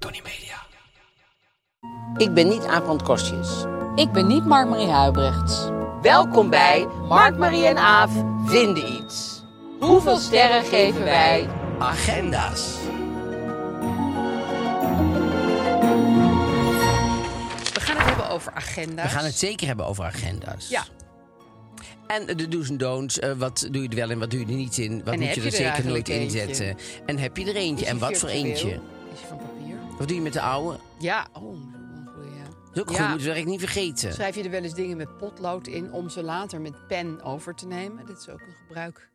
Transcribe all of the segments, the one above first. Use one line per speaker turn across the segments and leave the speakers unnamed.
Tony Media.
Ik ben niet Aap van het Kostjes.
Ik ben niet Mark-Marie Huibrechts.
Welkom bij Mark, Marie en Aaf vinden iets. Hoeveel sterren geven wij?
Agenda's.
We gaan het hebben over agenda's.
We gaan het zeker hebben over agenda's.
Ja.
En de do's en don'ts. eh, wat doe je er wel in, wat doe je er niet in? Wat
En
moet
heb
je
je
er
er
zeker nooit
eigenlijk
in
eentje?
zetten? En heb je er eentje?
Is
En
die
wat voor eentje?
virtueel? Is die van papier?
Wat doe je met de oude?
Ja, oh, een goeie, ja.
Dat is ook
Ja.
goed, moet je werk niet vergeten.
Schrijf je er wel eens dingen met potlood in om ze later met pen over te nemen? Dit is ook een gebruik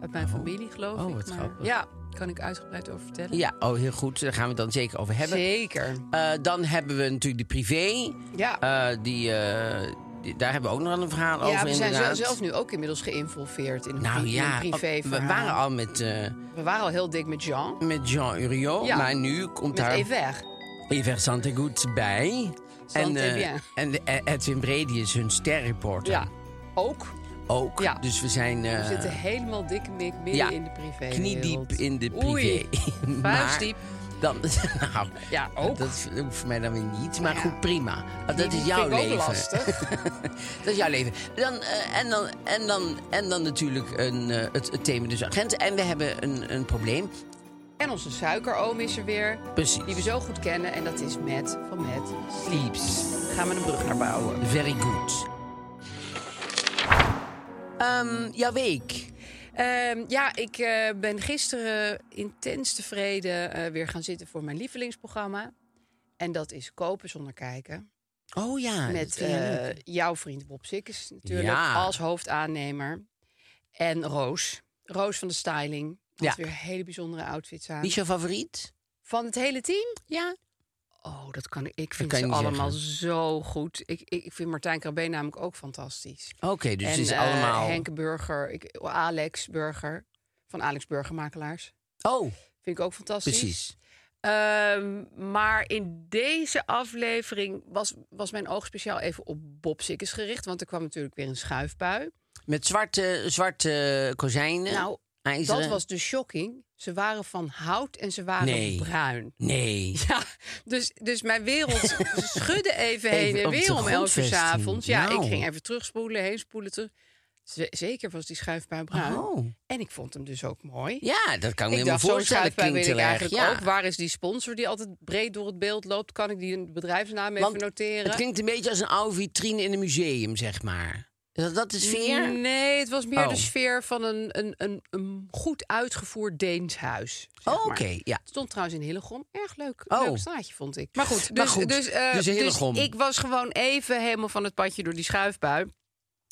uit mijn familie, geloof
Oh,
ik.
wat
maar-
grappig.
Ja, kan ik uitgebreid over vertellen.
Ja, oh, heel goed. Daar gaan we het dan zeker over hebben.
Zeker.
Eh, dan hebben we natuurlijk de privé.
Ja.
Eh, die, eh, die- daar hebben we ook nog wel een verhaal over
ja, we zijn
inderdaad.
zelf, zelf nu ook inmiddels geïnvolveerd in een,
Nou
pri- in
ja,
een privé
we waren al met, eh,
we waren al heel dik met Jean.
met Jean Uriot,
Ja.
maar nu komt
Met
daar
Ever.
Evert Santegoed bij.
Santé
eh,
bien.
en eh, Edwin Bredi is hun sterreporter.
Ja, ook.
Ook.
Ja.
Dus we zijn eh,
We zitten helemaal dik mik midden
ja,
in de privé.
kniediep in de privé.
Oei,
maar
vuistdiep.
Dan, nou,
Ja, ook.
Dat hoeft voor mij dan weer niet. Maar
Ja.
goed, prima. Dat,
Die-
is
die
jouw
vind ik ook
leven.
lastig.
dat is jouw leven. Dan, eh, en, dan, en, dan, en dan natuurlijk een, eh, het, het thema dus agent. En we hebben een, een probleem.
En onze suikeroom is er weer.
Precies.
Die we zo goed kennen. En dat is met van met.
Sleeps.
Gaan we een brug naar bouwen.
Very good. Ehm, jouw week.
Ehm, ja, ik eh, ben gisteren intens tevreden eh, weer gaan zitten voor mijn lievelingsprogramma. En dat is Kopen zonder kijken.
Oh ja. dat
met
vind jij
eh,
leuk.
jouw vriend Bob Sikkes natuurlijk
Ja.
als hoofdaannemer. En Roos. Roos van de Styling. Had
Ja.
weer hele bijzondere outfits aan.
Wie is jouw favoriet?
Van het hele team? Ja. Oh, dat kan ik. Ik vind
kan je
ze
niet
allemaal zo goed. Ik, ik, ik vind Martijn Krabbe namelijk ook fantastisch.
Oké, dus
en,
het is
eh,
allemaal...
Henk Burger, ik, Alex Burger, van Alex Burgermakelaars.
Oh,
Vind ik ook fantastisch.
precies.
Ehm, maar in deze aflevering was, was mijn oog speciaal even op Bob Sikkes gericht. Want er kwam natuurlijk weer een schuifbui.
Met zwarte, zwarte kozijnen.
Nou,
ijzeren.
dat was de shocking. Ze waren van hout en ze waren
Nee.
bruin.
Nee.
Ja, dus, dus mijn wereld schudde even heen
Even
en
op de
weer om elf uur
grondvesting.
s'avonds. Ja,
Nou.
ik ging even terugspoelen, heen spoelen, terug. Z- zeker was die schuifbui bruin.
Oh.
En ik vond hem dus ook mooi.
Ja, dat kan ik me
Ik
helemaal
dacht, zo'n
voorstellen.
schuifbui
Klinkt
wil ik
heel erg.
eigenlijk
Ja.
ook. Waar is die sponsor die altijd breed door het beeld loopt? Kan ik die een bedrijfsnaam
Want
even noteren?
Het klinkt een beetje als een oude vitrine in een museum, zeg maar. Is dat, dat de
Mm,
sfeer?
Nee, het was meer
Oh.
de sfeer van een, een, een, een goed uitgevoerd Deens huis. zeg
Oh, Oké,
maar.
ja.
Het stond trouwens in Hillegom. Erg leuk.
Oh.
Leuk straatje, vond ik. Maar goed, dus,
Maar goed,
dus, eh,
dus Hillegom.
ik was gewoon even helemaal van het padje door die schuifbui.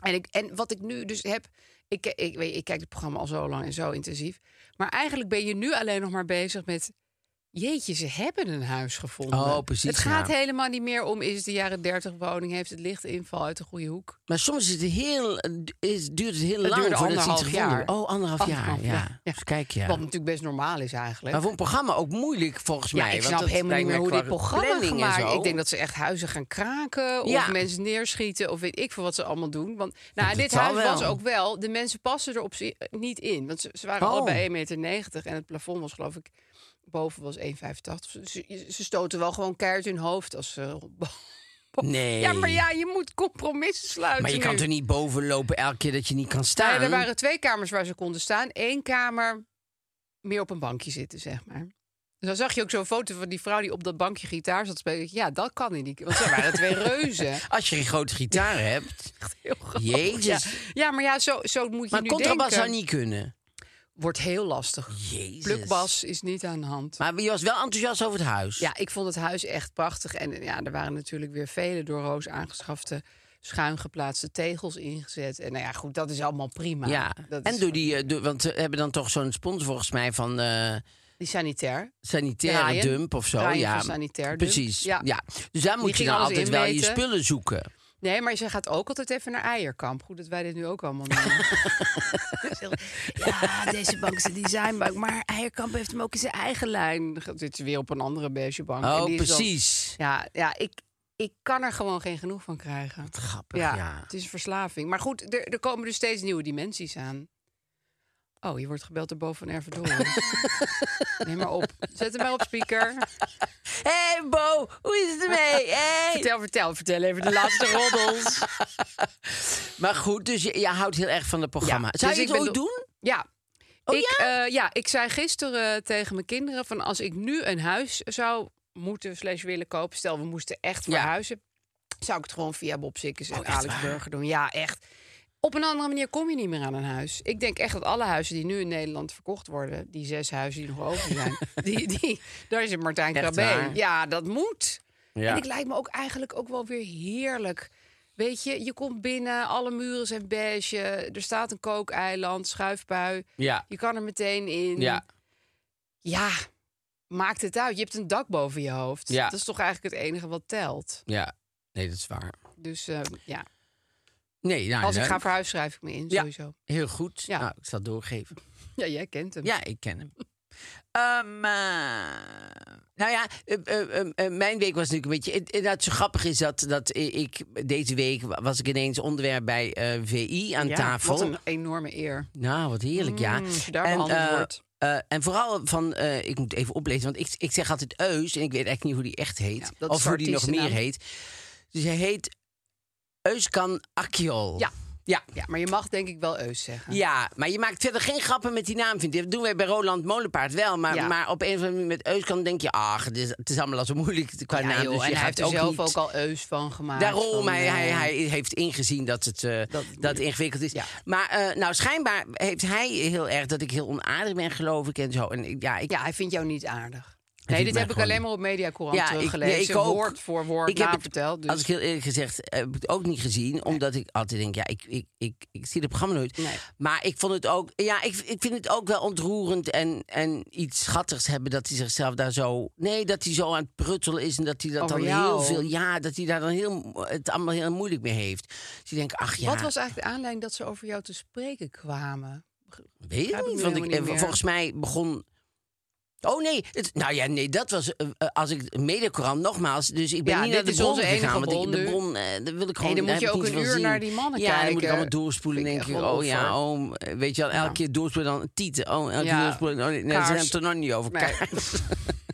En, ik, en wat ik nu dus heb... Ik, ik, weet, ik kijk het programma al zo lang en zo intensief. Maar eigenlijk ben je nu alleen nog maar bezig met... Jeetje, ze hebben een huis gevonden.
Oh, precies,
Het gaat
ja.
helemaal niet meer om... is het de jaren 30 woning, heeft het lichtinval uit de goede hoek.
Maar soms is het heel, is, duurt het heel
Het
lang
duurde
voordat ze iets
anderhalf
gevonden
jaar.
hebben. Oh, anderhalf,
Anderhalf
jaar, ja.
jaar, ja.
Dus kijk, ja.
Wat natuurlijk best normaal is eigenlijk.
Maar voor een programma ook moeilijk, volgens
Ja,
mij.
ik
want
snap
dat
helemaal niet
lijkt
meer
mij
hoe dit
qua
programma
planning en
gemaakt.
zo.
Ik denk dat ze echt huizen gaan kraken
Ja.
of mensen neerschieten of weet ik veel wat ze allemaal doen. Want nou,
Dat
dit
zal
huis
wel.
was ook wel. De mensen passen er op zich niet in, want ze, ze waren
Oh.
allebei 1,90 meter en het plafond was geloof ik boven was 1,85. Ze, ze stoten wel gewoon keihard hun hoofd als ze.
Nee.
Ja, maar ja, je moet compromissen sluiten.
Maar je kan
nu.
toch niet boven lopen elke keer dat je niet kan
Nou
staan?
ja, er waren twee kamers waar ze konden staan. Eén kamer meer op een bankje zitten, zeg maar. Dus dan zag je ook zo'n foto van die vrouw die op dat bankje gitaar zat te spelen. Ja, dat kan in die... Want zij waren twee reuzen.
Als je een grote gitaar hebt.
Heel grappig,
Jezus.
Ja. ja, maar ja, zo, zo moet je
Maar
nu
contrabas
denken.
zou niet kunnen.
Wordt heel lastig.
Jezus.
Plukbas is niet aan de hand.
Maar je was wel enthousiast over het huis.
Ja, ik vond het huis echt prachtig. En eh, ja, er waren natuurlijk weer vele door Roos aangeschafte... schuin geplaatste tegels ingezet. En nou ja, goed, dat is allemaal prima.
Ja.
Dat
en
is-
door die, eh, door- want ze hebben dan toch zo'n sponsor volgens mij van eh,
Die sanitair.
sanitaire
Ryan.
dump of zo.
Ryan
ja,
van sanitair dump.
precies.
Ja.
Ja. Dus daar moet je
ging
dan
alles
altijd wel je
inmeten.
spullen zoeken.
Nee, maar ze gaat ook altijd even naar Eierkamp. Goed dat wij dit nu ook allemaal doen. ja, deze bank is een designbank. Maar Eierkamp heeft hem ook in zijn eigen lijn. Dan zit ze weer op een andere beige bank. En
Oh,
die is dan-
precies.
ja, ja ik, ik kan er gewoon geen genoeg van krijgen.
Grappig,
Ja,
ja.
het is een verslaving. Maar goed, er, er komen dus steeds nieuwe dimensies aan. Oh, je wordt gebeld door Bo van Ervedoren. Neem maar op. Zet hem maar op speaker.
hey Bo, hoe is het ermee? Hey.
Vertel, vertel, vertel even de laatste roddels.
Maar goed, dus je, je houdt heel erg van het programma.
Ja,
Zou
dus
je
ik
het
ben
ooit
do-
doen?
Ja.
Oh,
ik, ja? ja, ik zei gisteren tegen mijn kinderen van als ik nu een huis zou moeten slash willen kopen, stel we moesten echt
Ja.
verhuizen, zou ik het gewoon via Bob Sikkes en
Oh, echt
Alex
waar?
Burger doen. Ja, echt. Op een andere manier kom je niet meer aan een huis. Ik denk echt dat alle huizen die nu in Nederland verkocht worden, die zes huizen die nog over zijn, die, die, daar zit Martijn
Echt
Krabbe.
waar?
Ja, dat moet.
Ja.
En ik lijkt me ook eigenlijk ook wel weer heerlijk. Weet je, je komt binnen, alle muren zijn beige. Er staat een kookeiland, schuifbui.
Ja.
Je kan er meteen in.
Ja.
Ja, maakt het uit. Je hebt een dak boven je hoofd.
Ja.
Dat is toch eigenlijk het enige wat telt.
Ja. Nee, dat is waar.
Dus eh, ja,
Nee, nou,
als ik
leuk.
ga verhuizen schrijf ik me in,
Ja.
sowieso.
Heel goed.
Ja.
Nou, ik zal het doorgeven.
Ja, jij kent hem.
Ja, ik ken hem. Ehm, eh, nou ja, eh, eh, eh, eh, mijn week was natuurlijk een beetje. eh, eh, nou, het zo grappig is dat, dat ik deze week wa- was ik ineens onderwerp bij eh, VI aan
Ja,
tafel.
Wat een enorme eer.
Nou, wat heerlijk, ja.
Mm, als je daar behandeld
eh,
wordt.
eh, en vooral van, eh, ik moet even oplezen, want ik, ik zeg altijd Eus en ik weet echt niet hoe die echt
Ja,
heet.
dat is
of
de
hoe die nog meer
artiestennaam.
heet. Dus hij heet Euskan Akjol.
Ja.
Ja,
Ja, maar je mag denk ik wel Eus zeggen.
ja, maar je maakt verder geen grappen met die naam, vind ik. Dat doen wij bij Roland Molenpaard wel. Maar,
Ja.
maar op een of andere manier met Euskan denk je... ach, het is, het is allemaal al zo moeilijk qua
Ja,
naam.
joh,
dus je
en hij
gaat
heeft er zelf
niet-
ook al Eus van gemaakt.
Daarom,
van,
hij, hij,
eh,
hij heeft ingezien dat het, eh, dat, ingewikkeld is.
Ja.
Maar eh, nou, schijnbaar heeft hij heel erg dat ik heel onaardig ben, geloof ik. En zo. En ik- ja, ik,
Ja, hij vindt jou niet aardig.
vindt
Nee, dit
mij
heb ik
gewoon
alleen
niet.
maar op Mediacourant
Ja, ik-
teruggelezen.
nee, ik ook.
Woord voor woord
Ik heb het-
verteld. Dus.
Als ik heel eerlijk gezegd eh, heb ik het ook niet gezien. Omdat ik altijd denk, ja, ik, ik, ik, ik zie het programma nooit.
Nee.
Maar ik vond het ook, ja, ik, ik vind het ook wel ontroerend en, en iets schattigs hebben dat hij zichzelf daar zo. Nee, dat hij zo aan het pruttelen is en dat hij dat
Over
dan heel
jou.
veel. Ja, dat hij daar dan heel, mo- het allemaal heel moeilijk mee heeft. Dus je denkt, ach ja,
Wat was eigenlijk de aanleiding dat ze over jou te spreken kwamen?
weet
Ja,
ik
dat
niet.
doe
Want
je
ik,
helemaal niet
eh,
meer.
volgens mij begon. Oh nee, het, nou ja, nee, dat was eh, eh, als ik medekorant nogmaals. Dus ik ben
Ja,
niet
dit
naar de
is
bron
onze
gegaan,
enige
want ik-
bron
de
nu.
bron, eh, daar wil ik gewoon.
Nee, dan moet
daar
je
heb ik
ook
niet
een
veel
uur
zien.
naar die mannen
ja, dan moet ik
kijken.
allemaal doorspoelen.
Vind
Denk
ik
ik,
echt wel
oh ja,
offer.
oh, eh, weet je wel, elke
Ja.
keer doorspoelen dan tieten. Oh, elke
Ja,
keer doorspoelen. Oh, nee, nee,
kaars.
ze hebben het er nog niet over.
Nee.
Kaars.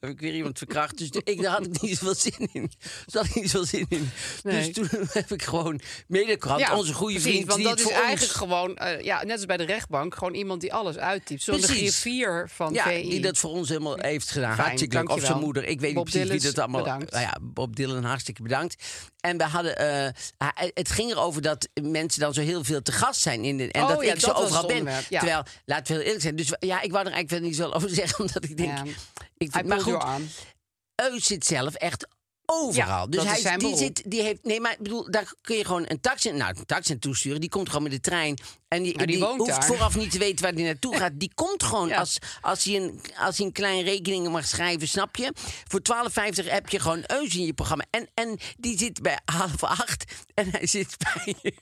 Heb ik weer iemand verkracht. Dus ik, daar had ik niet zoveel zin in. Daar had ik niet zoveel zin in.
Nee.
Dus toen heb ik gewoon medekrant, onze goede
precies,
vriend.
Want
die
dat
het
is
voor ons-
eigenlijk gewoon, eh, ja, net als bij de rechtbank, gewoon iemand die alles uittypt. Zo'n
Precies.
griffier van
ja,
VI.
die dat voor ons helemaal heeft gedaan.
Fijn,
hartstikke leuk. Of
dankjewel.
zijn moeder. Ik weet
Bob
niet precies wie
Dylan,
dat allemaal...
bedankt.
Nou ja, Bob Dylan, hartstikke bedankt. En we hadden... eh, hij- het ging erover dat mensen dan zo heel veel te gast zijn. In de, en
Oh
dat
ja,
ik zo
dat was
overal
het
ben.
onderwerp, ja.
Terwijl, laten we heel eerlijk zijn. Dus ja, ik wou er eigenlijk wel niet zo over zeggen. Omdat ik denk...
Ja.
Ik,
Hij
maar
pulled
goed,
jou aan.
Eus zit zelf echt overal.
Ja,
dus
dat
hij
is zijn
die
beroep.
zit, die heeft. Nee, maar ik bedoel, daar kun je gewoon een taxi. Nou, een taxi naartoe sturen. Die komt gewoon met de trein. En die,
Maar die woont
hoeft
daar.
vooraf niet te weten waar die naartoe gaat. Die komt gewoon
Ja.
als, als, hij een, als hij een klein rekening mag schrijven, snap je? Voor 12,50 heb je gewoon Eus in je programma. En, en die zit bij half acht. En hij zit bij.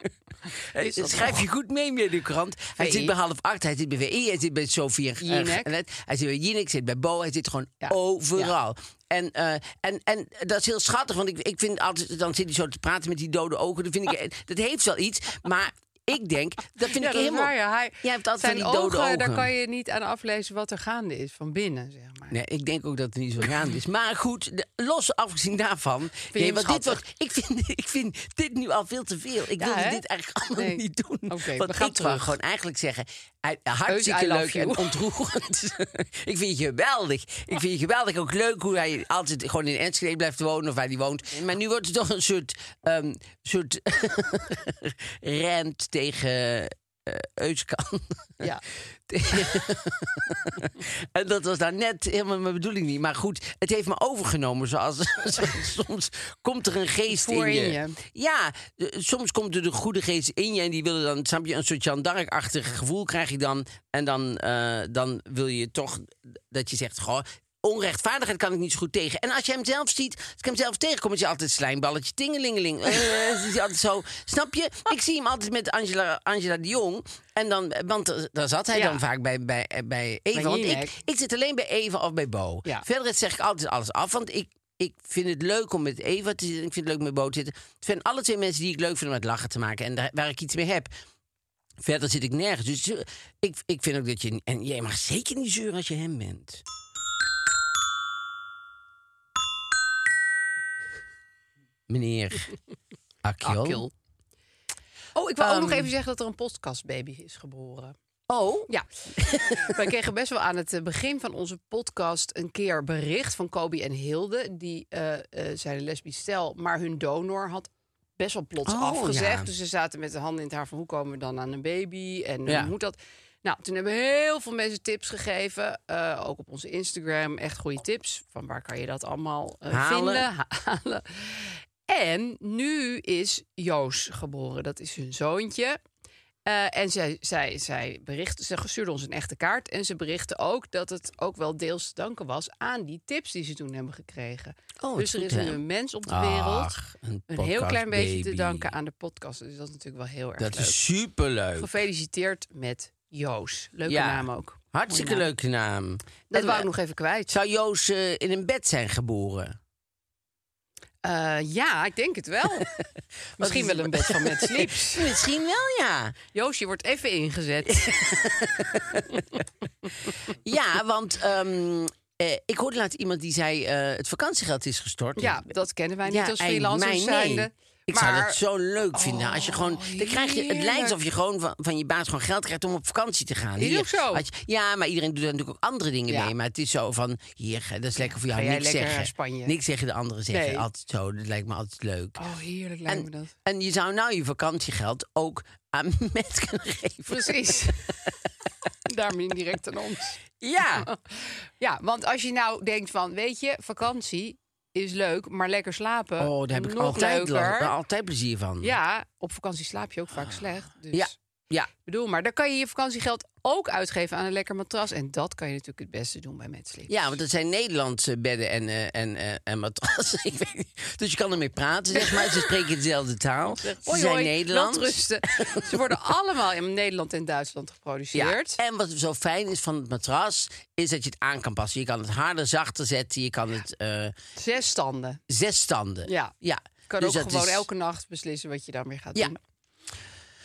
Is dat
Schrijf je goed mee met de krant. Hij
VI.
zit bij half acht, hij zit bij WI, hij zit bij Sofie en- en
Jinek.
Jeanette. Hij zit bij Jinek, hij zit bij Bo, hij zit gewoon
Ja.
overal. En, eh, en, en dat is heel schattig, want ik, ik vind altijd, dan zit hij zo te praten met die dode ogen. Dat, vind ik, dat heeft wel iets, maar Ik denk, dat vind
Ah.
ik
Ja, dat is
helemaal...
waar, ja. Hij,
Jij hebt altijd
zijn
van die dode ogen.
daar kan je niet aan aflezen wat er gaande is van binnen, zeg maar.
Nee, ik denk ook dat het niet zo gaande is. Maar goed, de- los afgezien daarvan.
je hem
want dit
schattig?
wordt, ik, vind, ik vind dit nu al veel te veel. Ik
Ja,
wilde
hè?
dit eigenlijk allemaal
Nee.
niet doen.
Oké,
want
we gaan
ik wou
terug.
gewoon eigenlijk zeggen... eh, Hartstikke
I love
leuk en
you.
ontroerend. ik vind je geweldig. Ik vind je geweldig. Ook leuk hoe hij altijd gewoon in Enschede blijft wonen of waar hij woont. Maar nu wordt het toch een soort, ehm soort rent tegen eh Euskan.
Ja.
En Eh, dat was daar net helemaal mijn bedoeling niet. Maar goed, het heeft me overgenomen. Zoals, zoals soms komt er een geest
Voor
in je.
in je.
Ja, eh, soms komt er de goede geest in je. En die willen dan, snap je, een soort Jan Dark-achtig gevoel krijg je dan. En dan, eh, dan wil je toch dat je zegt, goh... Onrechtvaardigheid kan ik niet zo goed tegen. En als je hem zelf ziet, als ik hem zelf tegenkom, is hij altijd slijmballetje, tingelingeling. Eh, is hij altijd zo. Snap je? Ik zie hem altijd met Angela, Angela de Jong. En dan, want eh, daar zat hij
Ja.
dan vaak bij, bij, eh, bij Eva. want ik,
Jinek.
ik zit alleen bij Eva of bij Bo.
Ja.
Verder zeg ik altijd alles af, want ik, ik vind het leuk om met Eva te zitten. Ik vind het leuk om met Bo te zitten. Het zijn alle twee mensen die ik leuk vind om met lachen te maken en daar, waar ik iets mee heb. Verder zit ik nergens. Dus eh, ik, ik vind ook dat je. En jij mag zeker niet zeuren als je hem bent. Meneer Akil.
Akil. Oh, ik wil ook nog
Ehm.
even zeggen dat er een podcastbaby is geboren.
Oh,
Ja, wij kregen best wel aan het eh, begin van onze podcast een keer bericht van Kobe en Hilde. Die eh, eh, zijn een lesbisch stel, maar hun donor had best wel plots
Oh,
afgezegd.
ja.
Dus ze zaten met de handen in het haar van hoe komen we dan aan een baby en
Ja.
hoe moet dat? Nou, toen hebben heel veel mensen tips gegeven, eh, ook op onze Instagram. Echt goede tips van waar kan je dat allemaal eh,
Halen.
vinden, ha- halen. En nu is Joos geboren. Dat is hun zoontje. Eh, en zij, zij, zij berichtte, ze stuurde ons een echte kaart. En ze berichtte ook dat het ook wel deels te danken was aan die tips die ze toen hebben gekregen.
Oh, wat
dus er
goed,
is nu
hè?
een mens op de wereld.
Ach, een,
een heel klein beetje te
podcastbaby.
danken aan de podcast. Dus dat is natuurlijk wel heel erg
Dat
leuk.
is superleuk.
Gefeliciteerd met Joos. Leuke
Ja.
naam ook.
Hartstikke
Mooie naam.
leuke naam.
Dat
En,
wou
eh,
ik nog even kwijt.
Zou Joos eh, in een bed zijn geboren?
Eh, ja, ik denk het wel. Misschien wel een bed van met sleeps.
Misschien wel, ja.
Joosje wordt even ingezet.
Ja, want ehm, eh, ik hoorde laatst iemand die zei... eh, het vakantiegeld is gestort.
Ja, dat kennen wij niet
Ja,
als
ei,
freelancers
mij nee.
zijnde.
Ik zou
Maar- Oh,
dat zo leuk vinden. als je gewoon, dan krijg je, het lijkt alsof je gewoon van, van je baas gewoon geld krijgt om op vakantie te gaan.
Is ook zo.
had je- ja, maar iedereen doet daar natuurlijk ook andere dingen
Ja.
mee. Maar het is zo van, hier, eh, dat is lekker voor jou.
Ga jij
niks
lekker
zeggen.
naar Spanje?
Niks zeggen, de anderen zeggen.
Nee.
Altijd zo, dat lijkt me altijd leuk.
Oh, heerlijk lijkt me
En,
dat.
en je zou nou je vakantiegeld ook aan mensen kunnen geven.
Precies. Daarmee direct aan ons.
Ja,
Ja, want als je nou denkt van, weet je, vakantie is leuk, maar lekker slapen.
oh, daar heb ik
nog
altijd, last-
leuker.
altijd plezier van. Ah.
Ja, op vakantie slaap je ook vaak slecht. Dus
Ja, ja.
ik bedoel, maar dan kan je je vakantiegeld ook uitgeven aan een lekker matras. En dat kan je natuurlijk het beste doen bij Metsleep.
Ja, want dat zijn Nederlandse bedden en, eh, en, eh, en matrassen. Ik weet niet. Dus je kan ermee praten, zeg maar. Ze spreken dezelfde taal. Ze
Hoi,
zijn
hoi,
Nederlands.
welterusten. Ze worden allemaal in Nederland en Duitsland
Ja.
geproduceerd.
En wat zo fijn is van het matras, is dat je het aan kan passen. Je kan het harder, zachter zetten. Je kan het eh,
Zes standen.
zes standen.
Ja.
ja.
kan
Dus
ook
dat
gewoon
is-
elke nacht beslissen wat je daarmee gaat
Ja.
doen.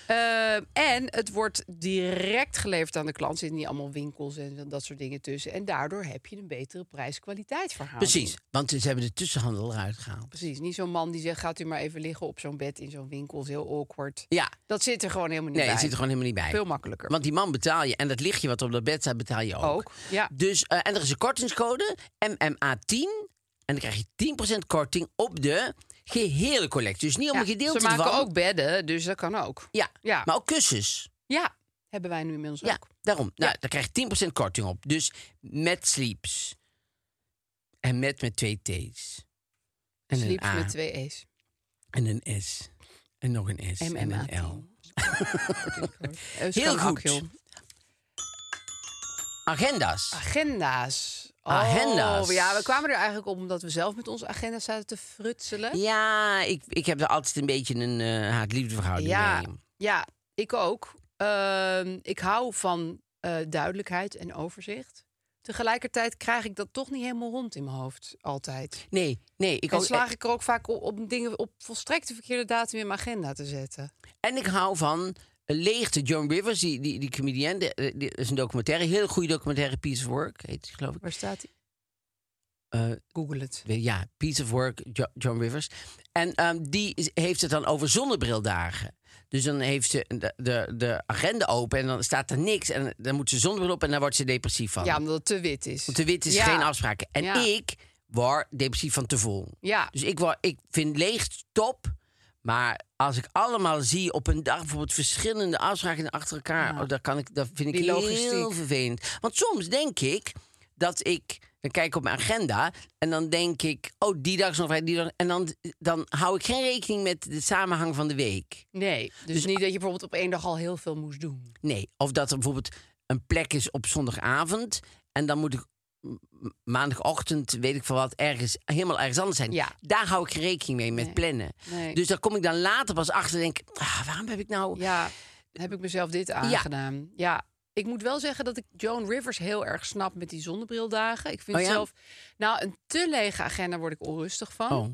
Eh, en het wordt direct geleverd aan de klant. Er zitten niet allemaal winkels en dat soort dingen tussen. En daardoor heb je een betere prijs-kwaliteit verhaal.
Precies, want ze hebben de tussenhandel eruit gehaald.
Precies. Niet zo'n man die zegt: gaat u maar even liggen op zo'n bed in zo'n winkel. is heel awkward.
Ja,
Dat zit er gewoon helemaal niet
nee,
bij.
het zit er gewoon helemaal niet bij.
Veel makkelijker.
Want die man betaal je. En dat lichtje wat op dat bed staat, betaal je ook.
Ook, ja.
Dus, eh, en er is een kortingscode, MMA10. En dan krijg je 10% korting op de gehele collectie. Dus niet om
Ja,
een gedeelte
Ze maken
ervan.
ook bedden, dus dat kan ook.
Ja,
Ja.
maar ook kussens.
Ja, hebben wij nu inmiddels
Ja,
ook.
daarom. Nou, daar krijg je 10% korting op. Dus met sleeps. En met met twee T's. En eh, ah. een
Sleeps
A.
met twee E's.
En een S. En nog een S. en
MMA.
een L.
Heel
goed. Agenda's.
Agenda's.
Agenda's.
Oh, ja, we kwamen er eigenlijk op omdat we zelf met onze agenda's zaten te frutselen.
Ja, ik, ik heb er altijd een beetje een eh haat-liefde verhouding
ja,
mee.
ja, ik ook. Ehm, ik hou van eh, duidelijkheid en overzicht. Tegelijkertijd krijg ik dat toch niet helemaal rond in mijn hoofd, altijd.
Nee, nee. Ik
Dan
ook-
slaag ik er ook vaak op om dingen op volstrekt de verkeerde datum in mijn agenda te zetten.
En ik hou van eh, beleegde Joan Rivers, die, die, die comedian. de- de- die is een documentaire, hele goede documentaire, Piece of Work heet die, geloof ik.
Waar staat hij?
Eh,
Google het.
weet- ja, Piece of Work, Jo- John Rivers. En ehm, die is- heeft het dan over zonnebrildagen. Dus dan heeft ze de, de, de agenda open en dan staat er niks. En dan moet ze zonnebril op en daar wordt ze depressief van.
Ja, omdat het te wit is.
Want de wit is
Ja.
geen afspraak. En
Ja.
ik word depressief van te vol.
Ja.
Dus ik, word, ik vind leeg top. Maar als ik allemaal zie op een dag bijvoorbeeld verschillende afspraken achter elkaar, oh, dat, kan ik, dat vind ik
Die
heel
logistiek.
vervelend. Want soms denk ik dat ik, dan kijk ik op mijn agenda en dan denk ik, oh die dag is nog vrij, die dag. En dan, dan hou ik geen rekening met de samenhang van de week.
Nee, dus, niet dat je bijvoorbeeld op één dag al heel veel moest doen.
Nee, of dat er bijvoorbeeld een plek is op zondagavond en dan moet ik m- maandagochtend, weet ik veel wat, ergens helemaal ergens anders zijn.
Ja.
Daar hou ik geen rekening mee met plannen.
Nee.
Dus daar kom ik dan later pas achter en denk, ik, ah, waarom heb ik nou...
Ja, heb ik mezelf dit aangedaan. Ja. ik moet wel zeggen dat ik Joan Rivers heel erg snap met die zonnebrildagen. Ik vind
Oh ja?
zelf, nou, een te lege agenda word ik onrustig van.
Oh.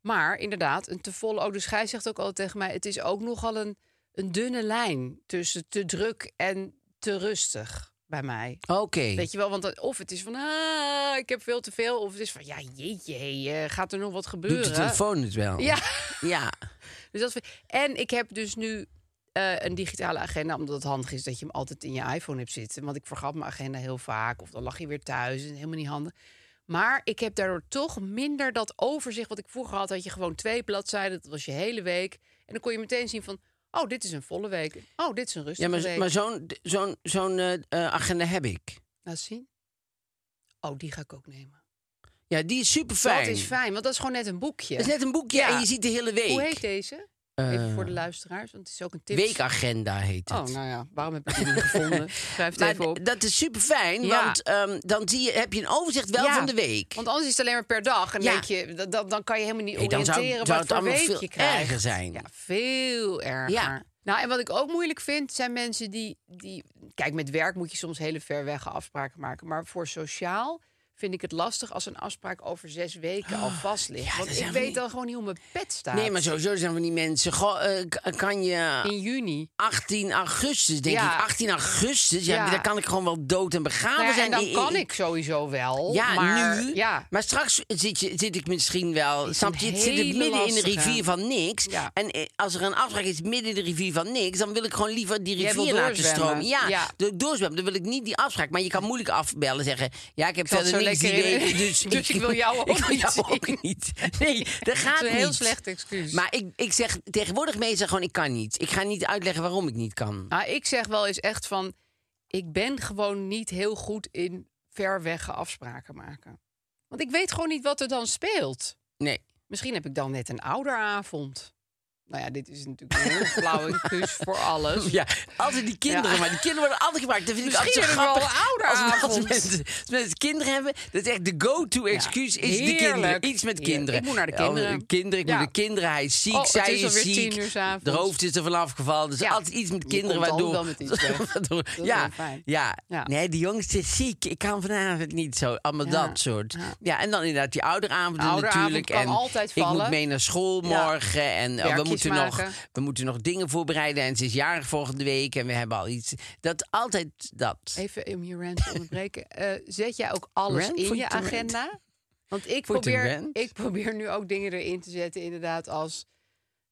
Maar inderdaad, een te volle ook. Dus Gij zegt ook altijd tegen mij: het is ook nogal een, een dunne lijn tussen te druk en te rustig bij mij.
Oké.
Weet je wel, want dat- of het is van, ah, ik heb veel te veel. Of het is van, ja, jeetje, hey, eh, gaat er nog wat gebeuren?
Doet de telefoon het wel?
Ja.
Ja.
Dus dat vind- En ik heb dus nu eh, een digitale agenda, omdat het handig is dat je hem altijd in je iPhone hebt zitten. Want ik vergat mijn agenda heel vaak, of dan lag je weer thuis en helemaal niet handig. Maar ik heb daardoor toch minder dat overzicht wat ik vroeger had. Had je gewoon twee bladzijden, dat was je hele week. En dan kon je meteen zien van, oh, dit is een volle week. Oh, dit is een
ja,
rustige
maar,
week.
maar zo'n zo'n zo'n eh, eh, agenda heb ik.
Laat zien. Oh, die ga ik ook nemen.
Ja, die is super fijn.
Dat is fijn, want dat is gewoon net een boekje.
Dat is net een boekje
Ja.
en je ziet de hele week.
Hoe heet deze? Even
Eh,
voor de luisteraars, want het is ook een tip.
Weekagenda heet het.
Oh, nou ja, waarom heb ik die niet gevonden? Schrijf het
Maar
even op.
d- dat is super fijn,
Ja.
want ehm, dan zie je, heb je een overzicht wel
Ja,
van de week.
Want anders is het alleen maar per dag. En
Ja.
denk je, dat, dat- dan kan je helemaal niet
Hey, dan zou-
oriënteren
zou
wat
het
voor
allemaal
week
veel
je krijgt.
erger zijn.
Ja, veel erger.
Ja.
Nou, en wat ik ook moeilijk vind, zijn mensen die, die... Kijk, met werk moet je soms hele ver weg afspraken maken. Maar voor sociaal vind ik het lastig als een afspraak over zes weken al vast ligt.
Oh, ja,
Want
dat
ik
zijn
weet
van die-
dan gewoon niet hoe mijn pet staat.
nee, maar sowieso zijn van die mensen. Goh, eh, k- kan je
In juni.
18 augustus, denk
Ja.
ik. 18 augustus, ja,
Ja,
dan kan ik gewoon wel dood en begraven
Nou ja,
zijn.
en dan kan ik sowieso wel.
Ja,
maar,
nu.
Ja,
Maar straks zit, je, zit ik misschien wel.
Is
Snap
een
je? Het zit het
hele
midden in de
lastige.
rivier van niks.
Ja.
En eh, als er een afspraak is midden in de rivier van niks, dan wil ik gewoon liever die
Jij wil
rivier laten
doorzwemmen.
stromen. Ja,
Ja.
wil ik doorzwemmen. Dan wil ik niet die afspraak. Maar je kan moeilijk afbellen zeggen: Ja, ik heb
Ik zat
verder
zo
niks die
lekker in-
week, Dus,
dus ik wil jou ook
ik wil
niet
jou ook
zien.
niet. Nee, dat gaat
dat is een heel
niet.
slecht excuus.
Maar ik, ik zeg tegenwoordig meestal gewoon: Ik kan niet. Ik ga niet uitleggen waarom ik niet kan.
Nou, ik zeg wel eens echt van... ik ben gewoon niet heel goed in ver weg afspraken maken. Want ik weet gewoon niet wat er dan speelt.
Nee.
Misschien heb ik dan net een ouderavond. Nou ja, dit is natuurlijk een heel flauwe excuus voor alles.
Ja, altijd die kinderen.
Ja.
Maar die kinderen worden altijd gebruikt. Dat vind
Misschien
ik altijd zo
hebben we
grappig.
wel een
als, als,
ouderavond.
mensen, als mensen kinderen hebben, dat is echt de go-to-excuus
Ja,
is de
heerlijk.
kinderen. Iets met
Heerlijk.
kinderen.
Ik moet naar de
Ja,
kinderen.
kinderen, ik
Ja.
moet de kinderen. Hij is ziek,
Oh, het
zij
is
is,
alweer
ziek.
tien uur 's avonds.
de hoofd is er vanaf gevallen. Dus
Ja.
altijd iets met
Je
kinderen.
komt altijd
waardoor,
wel met iets weg.
waardoor-
Dat is
ja,
wel fijn.
ja.
Ja.
Nee, die jongste is ziek. Ik kan vanavond niet zo. Allemaal
Ja.
dat soort.
Ja.
Ja. en dan inderdaad die ouderavond
Ouderavond
natuurlijk.
kan
en
altijd
Ik
vallen.
moet mee naar school
Ja.
morgen. En oh, we
Werkjes
moeten
maken.
nog we moeten nog dingen voorbereiden en ze is jarig volgende week en we hebben al iets. Dat altijd dat.
Even om je rant te onderbreken. Eh, zet jij ook alles
Rant?
in
Vond je
je
het een
agenda? Want ik
Vond je het een
probeer,
rant?
ik probeer nu ook dingen erin te zetten, inderdaad, als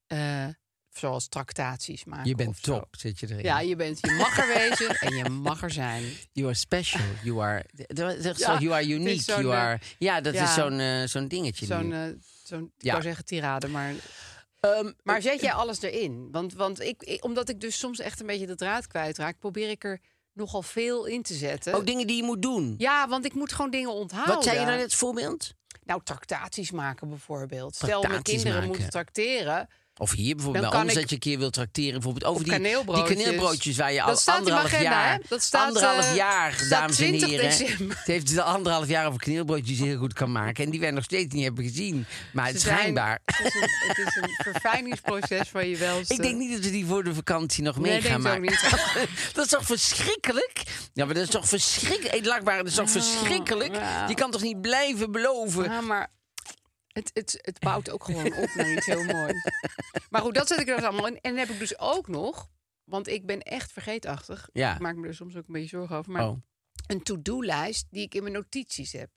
eh, zoals tractaties maken.
Je bent
of zo.
top, zit je erin.
Ja, je, bent, je mag er wezen en je mag er zijn.
You are special. You are, dat is echt zo,
Ja,
you are
het is
unique.
zo'n,
You
eh,
are, ja, dat
ja.
is zo'n eh, zo'n dingetje.
Zo'n,
nu.
eh, zo'n ik
Ja.
wou zeggen tirade, maar...
Ehm,
Maar zet jij alles erin? Want, want ik, ik- omdat ik dus soms echt een beetje de draad kwijtraak... probeer ik er nogal veel in te zetten.
ook dingen Oh, die je moet doen.
eh, ja, oh, want ik moet gewoon dingen onthouden.
Wat zei je nou net als voorbeeld?
Nou, tractaties maken bijvoorbeeld. Stel, mijn
Tractaties
kinderen
maken.
moeten tracteren.
Of hier bijvoorbeeld,
Dan
bij
kan
ons
ik-
dat je een keer wil trakteren. Bijvoorbeeld over
Op
die
kaneelbroodjes.
Die kaneelbroodjes waar je
Dat
al
staat in mijn
anderhalf
agenda,
jaar...
hè? Dat staat,
anderhalf
eh,
jaar,
staat
dames en
20
heren.
december.
Ze heeft het al anderhalf jaar over kaneelbroodjes heel goed kan maken. En die wij nog steeds niet hebben gezien. Maar
Ze zijn-
schijnbaar...
het, is een, het is een verfijningsproces van je welste.
Ik denk niet dat we die voor de vakantie nog mee
Nee,
gaan
denk
maken.
ik ook
dat is toch verschrikkelijk? Ja, maar dat is toch verschrikkelijk? Lakbaar, dat is toch verschrikkelijk?
wauw.
Je kan toch niet blijven beloven?
Ja, maar het, het, het bouwt ook gewoon op naar iets heel moois. Maar goed, dat zet ik er dus allemaal in. En dan heb ik dus ook nog Want ik ben echt vergeetachtig.
Ja.
Ik maak me er soms ook een beetje zorgen over. Maar
Oh.
een to-do-lijst die ik in mijn notities heb.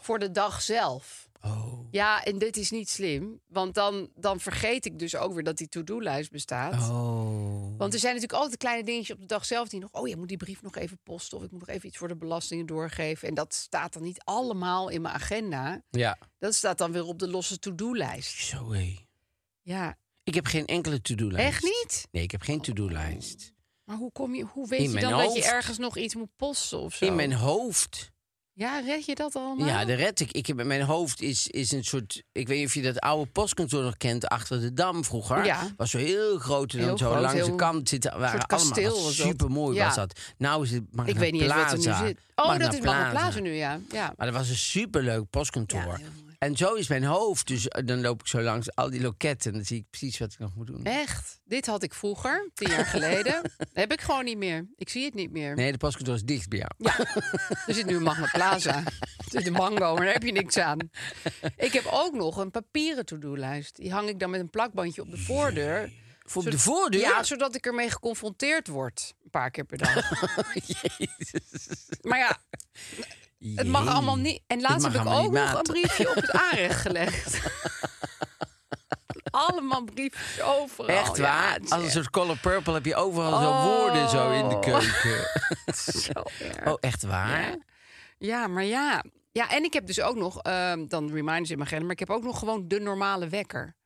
Voor de dag zelf.
Oh.
Ja, en dit is niet slim. Want dan, dan vergeet ik dus ook weer dat die to-do-lijst bestaat.
Oh.
Want er zijn natuurlijk altijd kleine dingetjes op de dag zelf die nog... oh, je moet die brief nog even posten... of ik moet nog even iets voor de belastingen doorgeven. En dat staat dan niet allemaal in mijn agenda.
Ja.
Dat staat dan weer op de losse to-do-lijst.
Zo hé.
Ja,
Ik heb geen enkele to-do-lijst.
echt niet?
Nee, ik heb geen to-do-lijst.
Maar hoe, kom je, hoe weet
In
je
mijn
dan dat je
hoofd.
ergens nog iets moet posten of zo?
In mijn hoofd.
Ja, red je dat allemaal?
Ja, dat red ik. ik heb, mijn hoofd is, is een soort... Ik weet niet of je dat oude postkantoor nog kent, achter de Dam vroeger.
Ja.
Was zo heel groot en dan
Heel
zo
groot,
langs de
heel-
kant zitten. Waren
soort kasteel
allemaal
was dat.
supermooi
Ja.
was dat. Nou is het
ik weet niet eens wat
Magna
er
Plaza.
nu zit. Oh,
Magna
dat is Magna Plaza nu, ja. ja.
Maar dat was een superleuk
Ja,
postkantoor.
heel mooi.
en zo is mijn hoofd. Dus eh, dan loop ik zo langs al die loketten. En dan zie ik precies wat ik nog moet doen.
Echt? Dit had ik vroeger, tien jaar geleden. heb ik gewoon niet meer. Ik zie het niet meer.
Nee, de postkantoor is dicht bij jou.
Er zit nu een Magna Plaza. Er zit een mango, maar daar heb je niks aan. Ik heb ook nog een papieren to-do-lijst. Die hang ik dan met een plakbandje op de voordeur.
Voor
Zodat-
de voordeur?
Ja, zodat ik ermee geconfronteerd word. Een paar keer per dag. Maar ja, het mag
Jee.
allemaal niet. En laatst
mag
heb ik
allemaal
ook
niet
nog een
maten.
briefje op het aanrecht gelegd. allemaal briefjes overal.
Echt
Oh, Ja,
waar?
het is
Als een
echt Oh.
soort color purple heb je overal zo woorden zo in de keuken.
zo erg.
Oh, echt waar?
Ja. Ja, maar ja. Ja, en ik heb dus ook nog, ehm, dan reminders in mijn agenda, maar ik heb ook nog gewoon de normale wekker.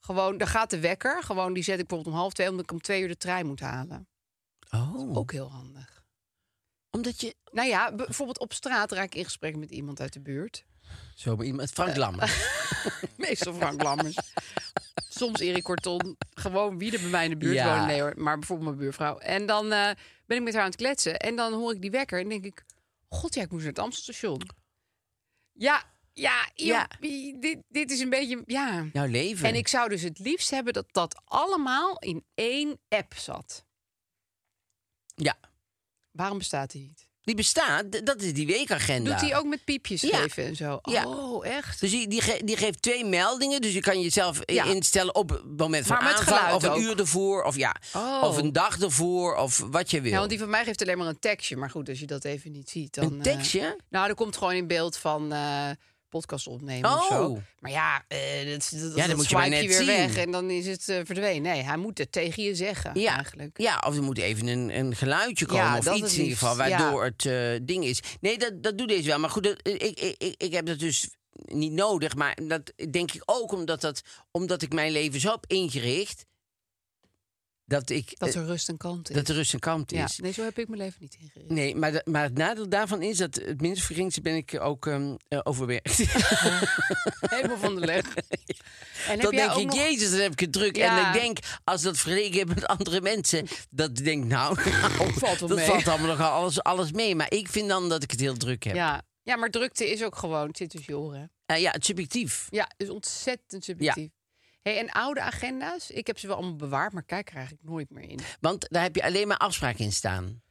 Gewoon, daar gaat de wekker, gewoon die zet ik bijvoorbeeld om half twee, omdat ik om twee uur de trein moet halen.
Oh,
Ook heel handig.
omdat je...
Nou ja, bijvoorbeeld op straat raak ik in gesprek met iemand uit de buurt.
Zo, maar iemand...
Eh,
Frank Lammers.
Meestal Frank Lammers. Soms Erik Korton. Gewoon wie er bij mij in de buurt
Ja.
woont. Nee hoor, maar bijvoorbeeld mijn buurvrouw. En dan eh, ben ik met haar aan het kletsen. En dan hoor ik die wekker en denk ik... God, ja, ik moest naar het Amstelstation. Ja, ja, ja. Dit, dit is een beetje... Ja.
Jouw leven.
En ik zou dus het liefst hebben dat dat allemaal in één app zat.
Ja,
Waarom bestaat die niet?
die bestaat. D- Dat is die weekagenda.
Doet hij ook met piepjes
Ja.
geven en zo?
Ja.
Oh, echt?
Dus die, die, ge- die geeft twee meldingen. Dus je kan jezelf i-
Ja.
instellen op het moment van
Maar met
aanvang.
geluid
Of een
ook.
uur ervoor. Of, ja,
Oh.
of een dag ervoor. Of wat je wil.
Ja, want die van mij geeft alleen maar een tekstje. Maar goed, als je dat even niet ziet, dan...
een
eh,
tekstje?
Nou, er komt gewoon in beeld van eh, podcast opnemen of
Oh.
zo. Maar ja, eh dat, dat, dat
dan moet je
swipe
maar net
weer
zien.
weg en dan is het eh, verdwenen. Nee, hij moet het tegen je zeggen
Ja,
eigenlijk.
ja, of er moet even een, een geluidje komen
Ja,
of
dat
iets
het
in ieder geval,
liefst, ja.
waardoor het eh, ding is. Nee, dat, dat doet deze wel. Maar goed, dat- eh, ik, ik, ik, ik heb dat dus niet nodig. Maar dat denk ik ook omdat, dat, omdat ik mijn leven zo heb ingericht... dat, ik,
Dat
eh,
er rust en kant is.
dat er rust en kalmte
ja.
is. dus.
Nee, zo heb ik mijn leven niet ingericht.
Nee, maar, dat- maar het nadeel daarvan is dat het minst verringste ben ik ook ehm, eh, overwerkt.
Helemaal van de leg. En heb
dan
jij
denk
ook
ik,
nog-
jezus, dan heb ik het druk.
Ja.
En ik denk, als dat vergeleken is met andere mensen... dat ik denk nou,
Valt wel
dat
mee.
valt allemaal nog alles, alles mee. Maar ik vind dan dat ik het heel druk heb. Ja,
Ja. ja, maar drukte is ook gewoon, het zit tussen je oren.
ja het is subjectief.
Ja, is ontzettend subjectief. Hey, en oude agenda's, ik heb ze wel allemaal bewaard, maar kijk er eigenlijk nooit meer in.
Want daar heb je alleen maar afspraken in staan.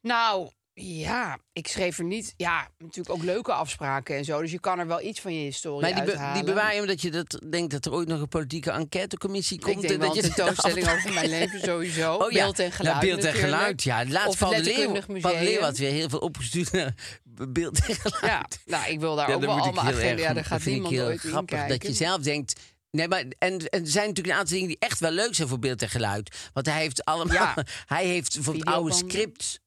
Nou, ja, ik schreef er niet. Ja, natuurlijk ook leuke afspraken en zo. Dus je kan er wel iets van je historie
Maar die, be- die
uithalen.
bewaar je omdat je dat, denkt dat er ooit nog een politieke enquêtecommissie komt.
Ik denk
en
wel
dat
een
je
tentoonstelling over mijn leven sowieso.
Oh ja,
Beeld en
nou,
geluid
beeld en
natuurlijk.
geluid, ja. Laatst
Of
van de Leeuw.
letterkundig
Van de Leeuw
museum.
had weer heel veel opgestuurd naar beeld en geluid.
Ja, nou, ik wil daar
Ja,
ook
dan
wel
moet ik
allemaal
heel erg
agenda.
om-
Daar gaat
vind ik
niemand
heel
ooit in
grappig dat je
kijken.
zelf denkt. Nee, maar en, en er zijn natuurlijk een aantal dingen die echt wel leuk zijn voor beeld en geluid. Want hij heeft allemaal.
Ja.
hij heeft bijvoorbeeld oude
Videobanden.
scripts.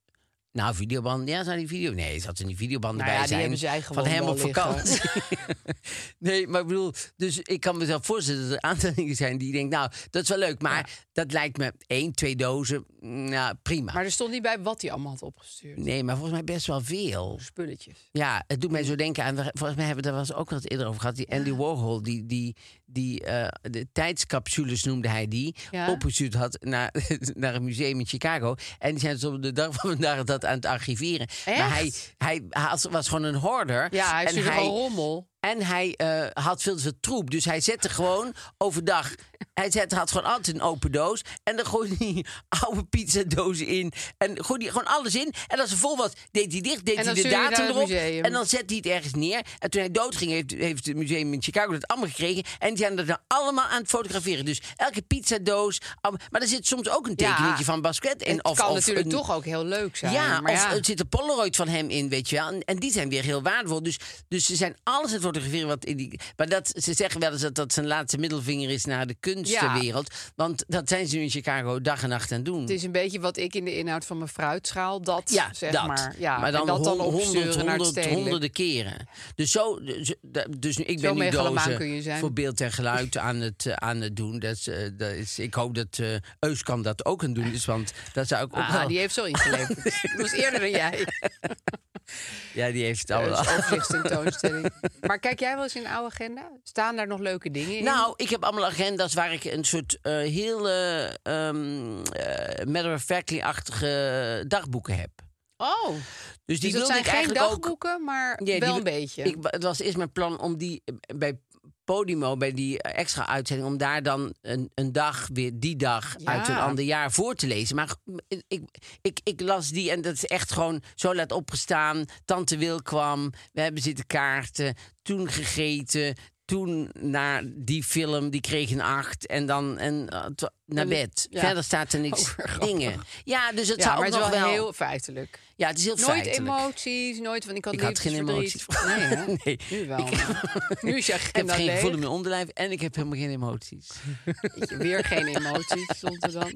Nou, videobanden. Ja, zou die video. Nee, zat in die videobanden
Nou ja,
bij
die
zijn.
hebben zij gewoon
van hem
wel
op
liggen.
vakantie. nee, maar ik bedoel. Dus ik kan mezelf voorstellen dat er een aantal dingen zijn die je denkt. Nou, dat is wel leuk. Maar dat lijkt me één, twee dozen. Nou, prima.
Maar er stond niet bij wat hij allemaal had opgestuurd.
Nee, maar volgens mij best wel veel.
Spulletjes.
Ja, het doet mij zo denken aan. Volgens mij hebben we daar was ook wel eens eerder over gehad. Die Andy Warhol, die, die, die eh, de tijdscapsules noemde hij die.
Ja.
Opgestuurd had naar, naar een museum in Chicago. En die zijn dus op de dag van vandaag dat aan het archiveren. Maar hij,
Echt?
hij, hij was gewoon een hoarder.
Ja, hij
en
stuurde gewoon rommel.
En hij eh, had veel te veel troep. Dus hij zette gewoon overdag. Hij zette, had gewoon altijd een open doos. En dan gooide hij oude pizzadozen in. En gooide hij gewoon alles in. En als het vol was, deed hij dicht. Deed hij
En dan
de
stuurde hij
datum
naar
erop.
het museum.
En dan zette hij het ergens neer. En toen hij doodging, heeft, heeft het museum in Chicago dat allemaal gekregen. En die zijn dat nou allemaal aan het fotograferen. Dus elke pizzadoos. allemaal- Maar er zit soms ook een
Ja.
tekeningetje van Basket in.
het
of,
kan
of
natuurlijk
een-
toch ook heel leuk zijn.
ja,
maar
of
ja.
er zit een Polaroid van hem in, weet je wel. En, en die zijn weer heel waardevol. Dus, dus ze zijn alles aan het fotograferen. Wat in die, maar dat, ze zeggen wel eens dat dat zijn laatste middelvinger is naar de kunstwereld. Want dat zijn ze nu in Chicago dag en nacht aan het doen.
Het is een beetje wat ik in de inhoud van mijn fruitschaal, dat
ja,
zeg
dat.
maar. Ja,
maar dan,
en dat dan
hon-
opsturen
honderd,
naar het
honderd,
stedelijk.
honderden keren. Dus, zo, dus, dus nu, ik
Zo
ben nu
megalomaan
dozen
kun je zijn.
voor beeld en geluid aan het, eh, aan het doen. Dat is, eh, dat is, ik hoop dat eh Euskam dat ook aan het doen is. Want dat zou ik ook
Ah,
wel-
die heeft zo ingeleverd. Dat was eerder dan jij.
ja, die heeft het
Dat
allemaal.
is overzichtstentoonstelling. Maar kijk jij wel eens in de oude agenda? Staan daar nog leuke dingen in?
Nou, ik heb allemaal agenda's waar ik een soort eh heel matter of factly-achtige dagboeken heb.
Oh,
Dus die
dus dat
wilde
zijn
ik
geen
eigenlijk ook.
dagboeken, maar
Ja, die
wel
wil-
een beetje.
Ik, het was eerst mijn plan om die eh, bij Podimo, bij die eh, extra uitzending, om daar dan een, een dag, weer die dag
Ja.
uit een ander jaar voor te lezen. Maar g- ik, ik, ik, las die en dat is echt gewoon zo laat opgestaan. Tante Wil kwam, we hebben zitten kaarten, toen gegeten. Toen naar die film, die kreeg een acht. En dan en, eh, twa- naar
En-
bed.
ja.
Verder staat er niks
Oh, grappig.
dingen. Ja, dus het
ja,
zou
maar
ook
het is
nog
wel,
wel...
heel feitelijk.
Ja, het is heel
Nooit
feitelijk.
emoties, nooit van ik had
Ik had geen
liefdesverdriet.
emoties.
Nee, hè?
Nee.
nu wel. nu is je
Ik heb
agenda
geen
leeg.
gevoel in mijn onderlijf en ik heb helemaal geen emoties.
Weer geen emoties stond er dan.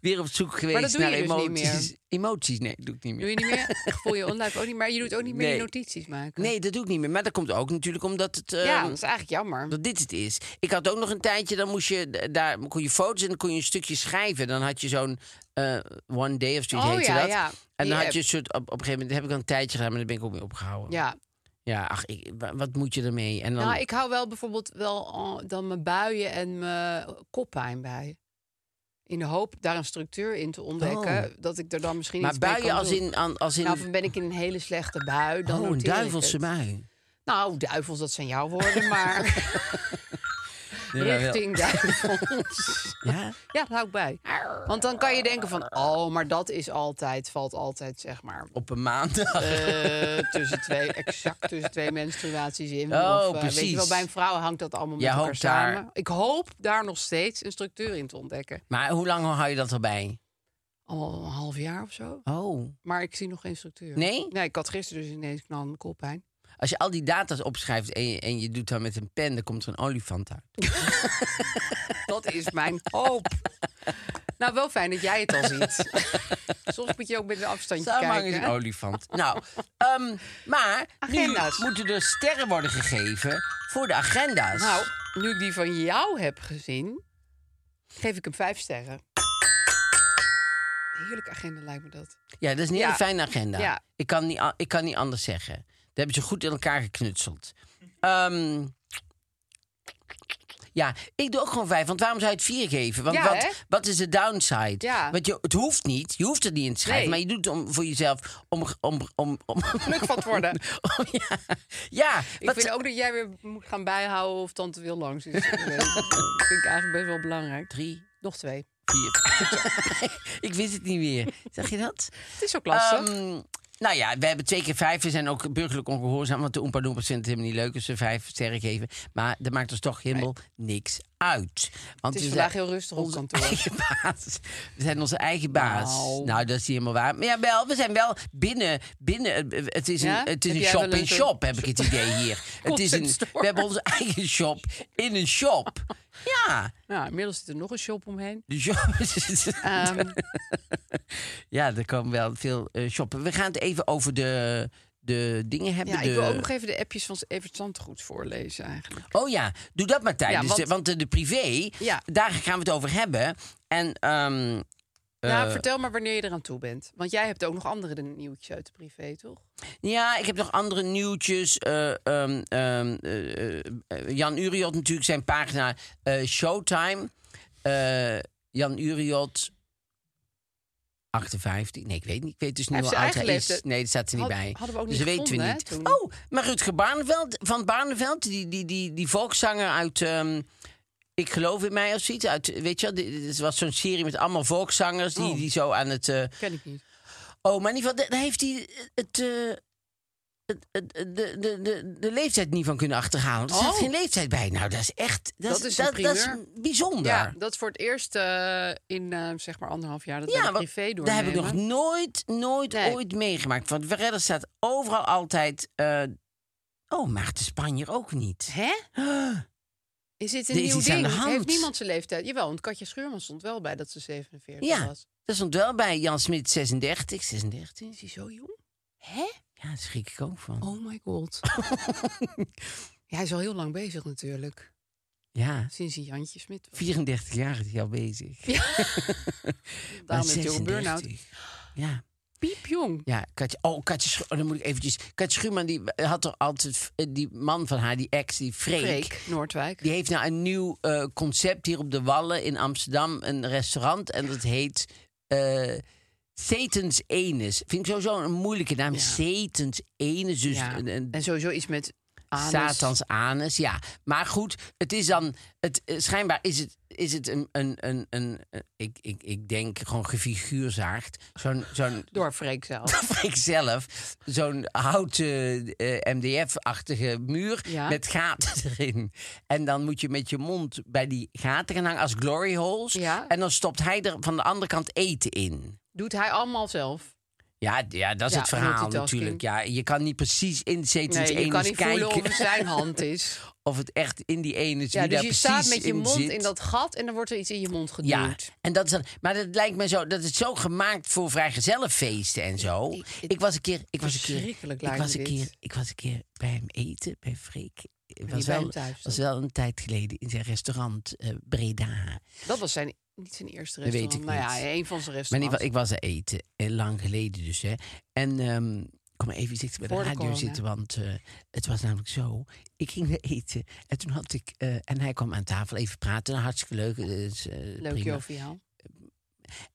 Weer op zoek geweest
Maar dat doe
naar
je dus niet
emoties.
meer.
Emoties, nee, dat doe ik niet
Doe
meer.
je niet meer? Gevoel je online ook niet, maar je doet ook niet meer je
Nee.
notities maken.
Nee, dat doe ik niet meer. Maar dat komt ook natuurlijk omdat het. eh,
Ja, dat is eigenlijk jammer.
dat dit het is. Ik had ook nog een tijdje, dan moest je eh, daar kon je foto's en dan kon je een stukje schrijven. Dan had je zo'n eh, one day of zoiets
Oh,
heette
ja,
dat.
ja.
En
Die
dan had
app.
je een soort op, op een gegeven moment heb ik dan een tijdje gedaan, maar dan ben ik ook mee opgehouden.
Ja,
Ja, ach, ik, wa- wat moet je ermee? En dan
nou, ik hou wel bijvoorbeeld wel eh, dan mijn buien en mijn koppijn bij. In de hoop daar een structuur in te ontdekken. Dat ik er dan misschien
Oh. maar
iets mee
buien
kan
als
doen.
in, aan- als in
Nou, of ben ik in een hele slechte bui, dan
oh, een
noteer ik
duivelse
het.
bui.
Nou, duivels, dat zijn jouw woorden, maar richting duivels.
Ja?
Ja, dat hou ik bij. Want dan kan je denken van, oh, maar dat is altijd, valt altijd, zeg maar...
Op een maandag.
eh, tussen twee, exact tussen twee menstruaties in.
Oh,
of, eh, Weet je
precies.
wel, bij een vrouw hangt dat allemaal
Jij
met elkaar
hoopt daar-
samen. Ik hoop daar nog steeds een structuur in te ontdekken.
Maar hoe lang hou je dat erbij?
Al een half jaar of zo.
Oh.
Maar ik zie nog geen structuur.
Nee?
Nee, ik had gisteren dus ineens knal een koppijn.
Als je al die data's opschrijft en je, en je doet dat met een pen, dan komt er een olifant uit.
Dat is mijn hoop. Nou, wel fijn dat jij het al ziet. Soms moet je ook met een afstandje
Samenhang is
kijken.
een olifant. Nou, ehm, maar
Agenda's.
nu moeten er sterren worden gegeven voor de agenda's.
Nou, nu ik die van jou heb gezien, geef ik hem vijf sterren. Heerlijke agenda lijkt me dat.
ja, dat is een hele
ja.
fijne agenda.
Ja.
Ik, kan niet, a- ik kan niet anders zeggen. Dat hebben ze goed in elkaar geknutseld. Ehm, ja, ik doe ook gewoon vijf. Want waarom zou je het vier geven? Want
Ja, hè?
wat, wat is de downside?
Ja.
Want je, het hoeft niet. Je hoeft het niet in te schrijven.
Nee.
Maar je doet het om, voor jezelf. Om, om, om, om,
Geluk van het worden.
Oh, ja. ja
Ik
wat-
vind ook dat jij weer moet gaan bijhouden of tante wil langs is. Ik weet het niet. Dat vind ik eigenlijk best wel belangrijk.
Drie,
Nog twee.
vier. ik wist het niet meer. Zeg je dat?
Het is ook lastig.
Ehm, nou ja, we hebben twee keer vijf. We zijn ook burgerlijk ongehoorzaam. Want de Oompa Loompas vinden het helemaal niet leuk als ze vijf sterren geven. Maar dat maakt ons toch helemaal niks uit. Want
het is
we
vandaag
zijn
heel rustig op
dus onze
kantoor.
eigen baas. We zijn onze eigen baas.
Nou.
Nou, dat is niet helemaal waar. Maar ja, wel, we zijn wel binnen. binnen eh, het is een,
Ja?
het is
Heb
een
jij
shop
wel een
in
soort-
shop, heb ik het idee hier. het is een,
Concept store.
we hebben onze eigen shop in een shop. Ja.
Nou, inmiddels zit er nog een shop omheen.
De shop.
Ehm,
ja, er komen wel veel eh, shoppen. We gaan het even over de, de dingen hebben.
ja, ik wil
de-
ook nog even de appjes van Evert Zandgoed voorlezen eigenlijk.
Oh ja, doe dat maar
Ja,
tijdens.
want-
want eh, de privé,
Ja.
daar gaan we het over hebben. En ehm,
Nou,
eh,
vertel maar wanneer je eraan toe bent. Want jij hebt ook nog andere nieuwtjes uit de privé, toch?
ja, ik heb nog andere nieuwtjes. Eh, ehm, ehm, eh, eh, Jan Uriot natuurlijk, zijn pagina eh, Showtime. Eh, Jan Uriot... 58. Nee, ik weet niet. Ik weet dus
Hij
niet hoe
heeft
oud
zijn
hij
eigen
is.
leeftijd.
Nee, dat staat er niet
Had-
bij.
hadden we ook
dus
niet
dat weten we niet.
gevonden, hè, toen.
Oh, maar Rutger Barneveld, van Barneveld, die, die, die, die volkszanger uit... ehm, ik geloof in mij of zoiets. Uit, weet je wel, dit- dit was zo'n serie met allemaal volkszangers... die,
Oh.
die zo aan het... eh,
Ken ik niet.
oh, maar in ieder geval, daar heeft hij het... eh, het- het- de, de, de, de leeftijd niet van kunnen achterhalen. Er staat
Oh.
geen leeftijd bij. Nou, dat is echt... Dat,
Dat
is,
is een
dat, dat is
primeur.
bijzonder.
Ja, dat is voor het eerst eh, in eh, zeg maar anderhalf jaar dat we de
want
privé doornemen.
daar heb ik nog nooit, nooit,
Nee.
ooit meegemaakt. Want verder staat overal altijd... eh, oh, maar de Spanjer ook niet.
Hè? Is dit een
Er is
nieuw
iets aan
ding?
de hand.
Heeft niemand zijn leeftijd? Jawel, want Katja Schuurman stond wel bij dat ze 47
Ja.
was.
Dat stond wel bij Jan Smit 36, 36.
Is hij zo jong? Hè?
Ja, daar schrik ik ook van.
Oh my god. ja, hij is al heel lang bezig natuurlijk.
Ja,
Sinds hij Jantje Smit was.
34 jaar is hij al bezig. Ja,
Daarom heeft hij ook een burn-out.
Ja.
Piepjong.
Ja, Katje, oh, Katje, Schu- oh, dan moet ik eventjes... Katje Schuurman, die had toch altijd... eh, Die man van haar, die ex, die Freek.
Freek, Noordwijk.
Die heeft nou een nieuw eh, concept hier op de Wallen in Amsterdam. Een restaurant en dat heet eh Setens Enes. Vind ik sowieso een moeilijke naam.
Ja.
Setens Enes. Dus
Ja.
een, een
En sowieso iets met anus.
Satans anus, ja. Maar goed, het is dan... Het, eh, schijnbaar is het, is het een... een, een, een eh, ik, ik, ik denk gewoon gefiguurzaagd. Zo'n... zo'n
Door Freek zelf.
ik zelf zo'n houten eh, MDF-achtige muur
Ja.
met gaten erin. En dan moet je met je mond bij die gaten gaan hangen als glory holes.
Ja.
En dan stopt hij er van de andere kant eten in.
Doet hij allemaal zelf.
Ja, d- ja dat is
Ja,
het verhaal
multitasking.
natuurlijk. Ja, je kan niet precies in zetels
Nee, je
ene
kan niet
kijken
voelen of het zijn hand is.
of het echt in die ene is
Ja,
wie
dus
daar precies
je staat met je mond
zit.
in dat gat en dan wordt er iets in je mond geduwd.
Ja, en dat is dan, maar dat lijkt me zo, dat is zo gemaakt voor vrijgezellenfeesten en zo. Ik, was een keer, ik was een keer,
Verschrikkelijk
ik
lijkt
was
me
een
dit.
keer, ik was een keer bij hem eten, bij Freek. Het
niet
was
bij
wel,
hem thuis
was
dan?
wel een tijd geleden in zijn restaurant eh, Breda.
Dat was zijn, niet zijn eerste
Dat weet
restaurant.
ik
nou
niet.
ja, een van zijn
Maar in ieder
restaurants.
geval, ik was er eten, eh, lang geleden dus. Hè. En ehm, kom maar even dichter bij de
Voor de
radio
corona.
zitten, want eh, het was namelijk zo. Ik ging er eten en toen had ik, eh, en hij kwam aan tafel even praten. Nou, hartstikke leuk. eh, is, eh,
Leuk
prima.
joviaal.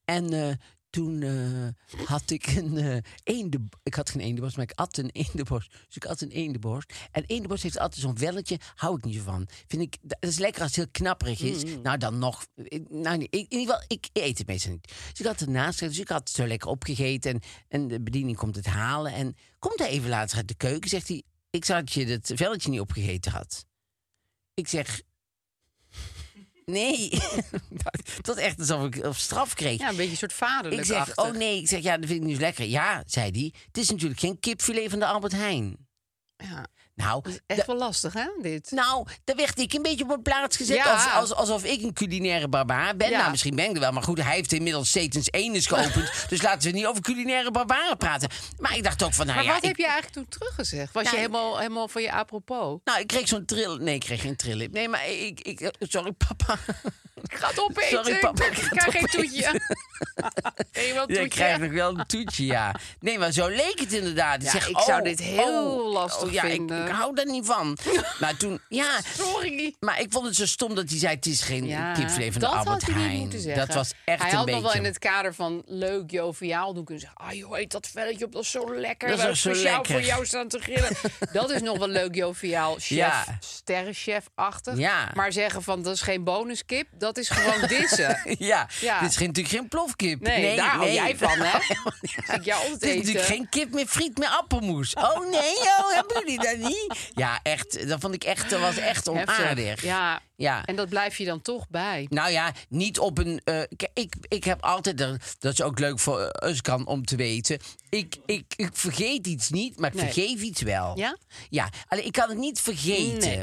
En eh, toen eh, had ik een eh eende... Ik had geen eendenborst, maar ik at een eendenborst. Dus ik at een eendenborst. En eendenborst heeft altijd zo'n welletje. Hou ik niet zo van. Vind ik, dat is lekker als het heel knapperig is. Nou, dan nog... ik- Nou, nee, ik, in ieder geval, ik eet het meestal niet. Dus ik had het naast Dus ik had het zo lekker opgegeten. En, en de bediening komt het halen. En komt hij even later uit de keuken. Zegt hij, ik zag dat je dat velletje niet opgegeten had. Ik zeg... Nee, dat is echt alsof ik op straf kreeg.
Ja, een beetje een soort vaderlijk
Ik zeg,
achtig.
oh nee, ik zeg, ja, dat vind ik niet zo lekker. Ja, zei hij, het is natuurlijk geen kipfilet van de Albert Heijn.
Ja,
Nou,
dat is echt wel lastig, hè, dit.
nou, daar werd ik een beetje op mijn plaats gezet.
Ja.
Als, als, alsof ik een culinaire barbaar ben.
Ja.
Nou, misschien ben ik er wel. Maar goed, hij heeft inmiddels Setens 1 is geopend. dus laten we niet over culinaire barbaren praten. Maar ik dacht ook van, nou
maar
ja...
wat
ik,
heb je eigenlijk toen teruggezegd? Was
Nou,
je helemaal, helemaal van je apropos?
Nou, ik kreeg zo'n trill... Nee, ik kreeg geen trill. Nee, maar ik... ik eh, sorry, papa.
Ik ga het opeten.
Sorry,
ik
papa,
ben-
ik
Ik
ga
krijg
het
geen
opeten.
toetje. Ken je wel een
Ja,
toetje?
ik krijg nog wel een toetje, ja. Nee, maar zo leek het inderdaad.
Ja,
zeg,
ik
oh,
zou dit heel
oh,
lastig
oh, ja, ik-
vinden.
Ik, hou daar niet van. maar toen, ja.
Sorry.
Maar ik vond het zo stom dat hij zei: het is geen
Ja,
kipfilet van de
dat
Albert
had hij niet
Heijn.
moeten zeggen.
dat was echt
hij
een
had
beetje.
nog wel in het kader van leuk, joviaal doen kunnen zeggen... ah joh, eet dat velletje op, dat is zo lekker.
Dat is
We
ook zo
hebben speciaal
lekker."
voor jou staan te grillen. dat is nog wel leuk, joviaal. Chef,
Ja.
sterrenchef-achtig.
Ja.
Maar zeggen van, dat is geen bonuskip, dat is gewoon dissen.
ja,
Ja.
dit is geen- natuurlijk geen plofkip.
Nee, daar hou jij van, hè?
Daar hou ik helemaal niet
Zie ik jou
van.
altijd
Dit is natuurlijk
eten.
geen kip meer friet met appelmoes. Oh nee, joh, hebben jullie dat niet? Ja, echt. Dat vond ik echt, dat was echt
Heftig.
onaardig.
Ja.
ja.
en dat blijf je dan toch bij.
Nou ja, niet op een. eh, k- ik, ik heb altijd. Dat dat is ook leuk voor eh, Uskan om te weten. Ik, ik, ik vergeet iets niet, maar ik
Nee.
vergeef iets wel.
Ja?
Ja, alleen ik kan het niet vergeten.
Nee.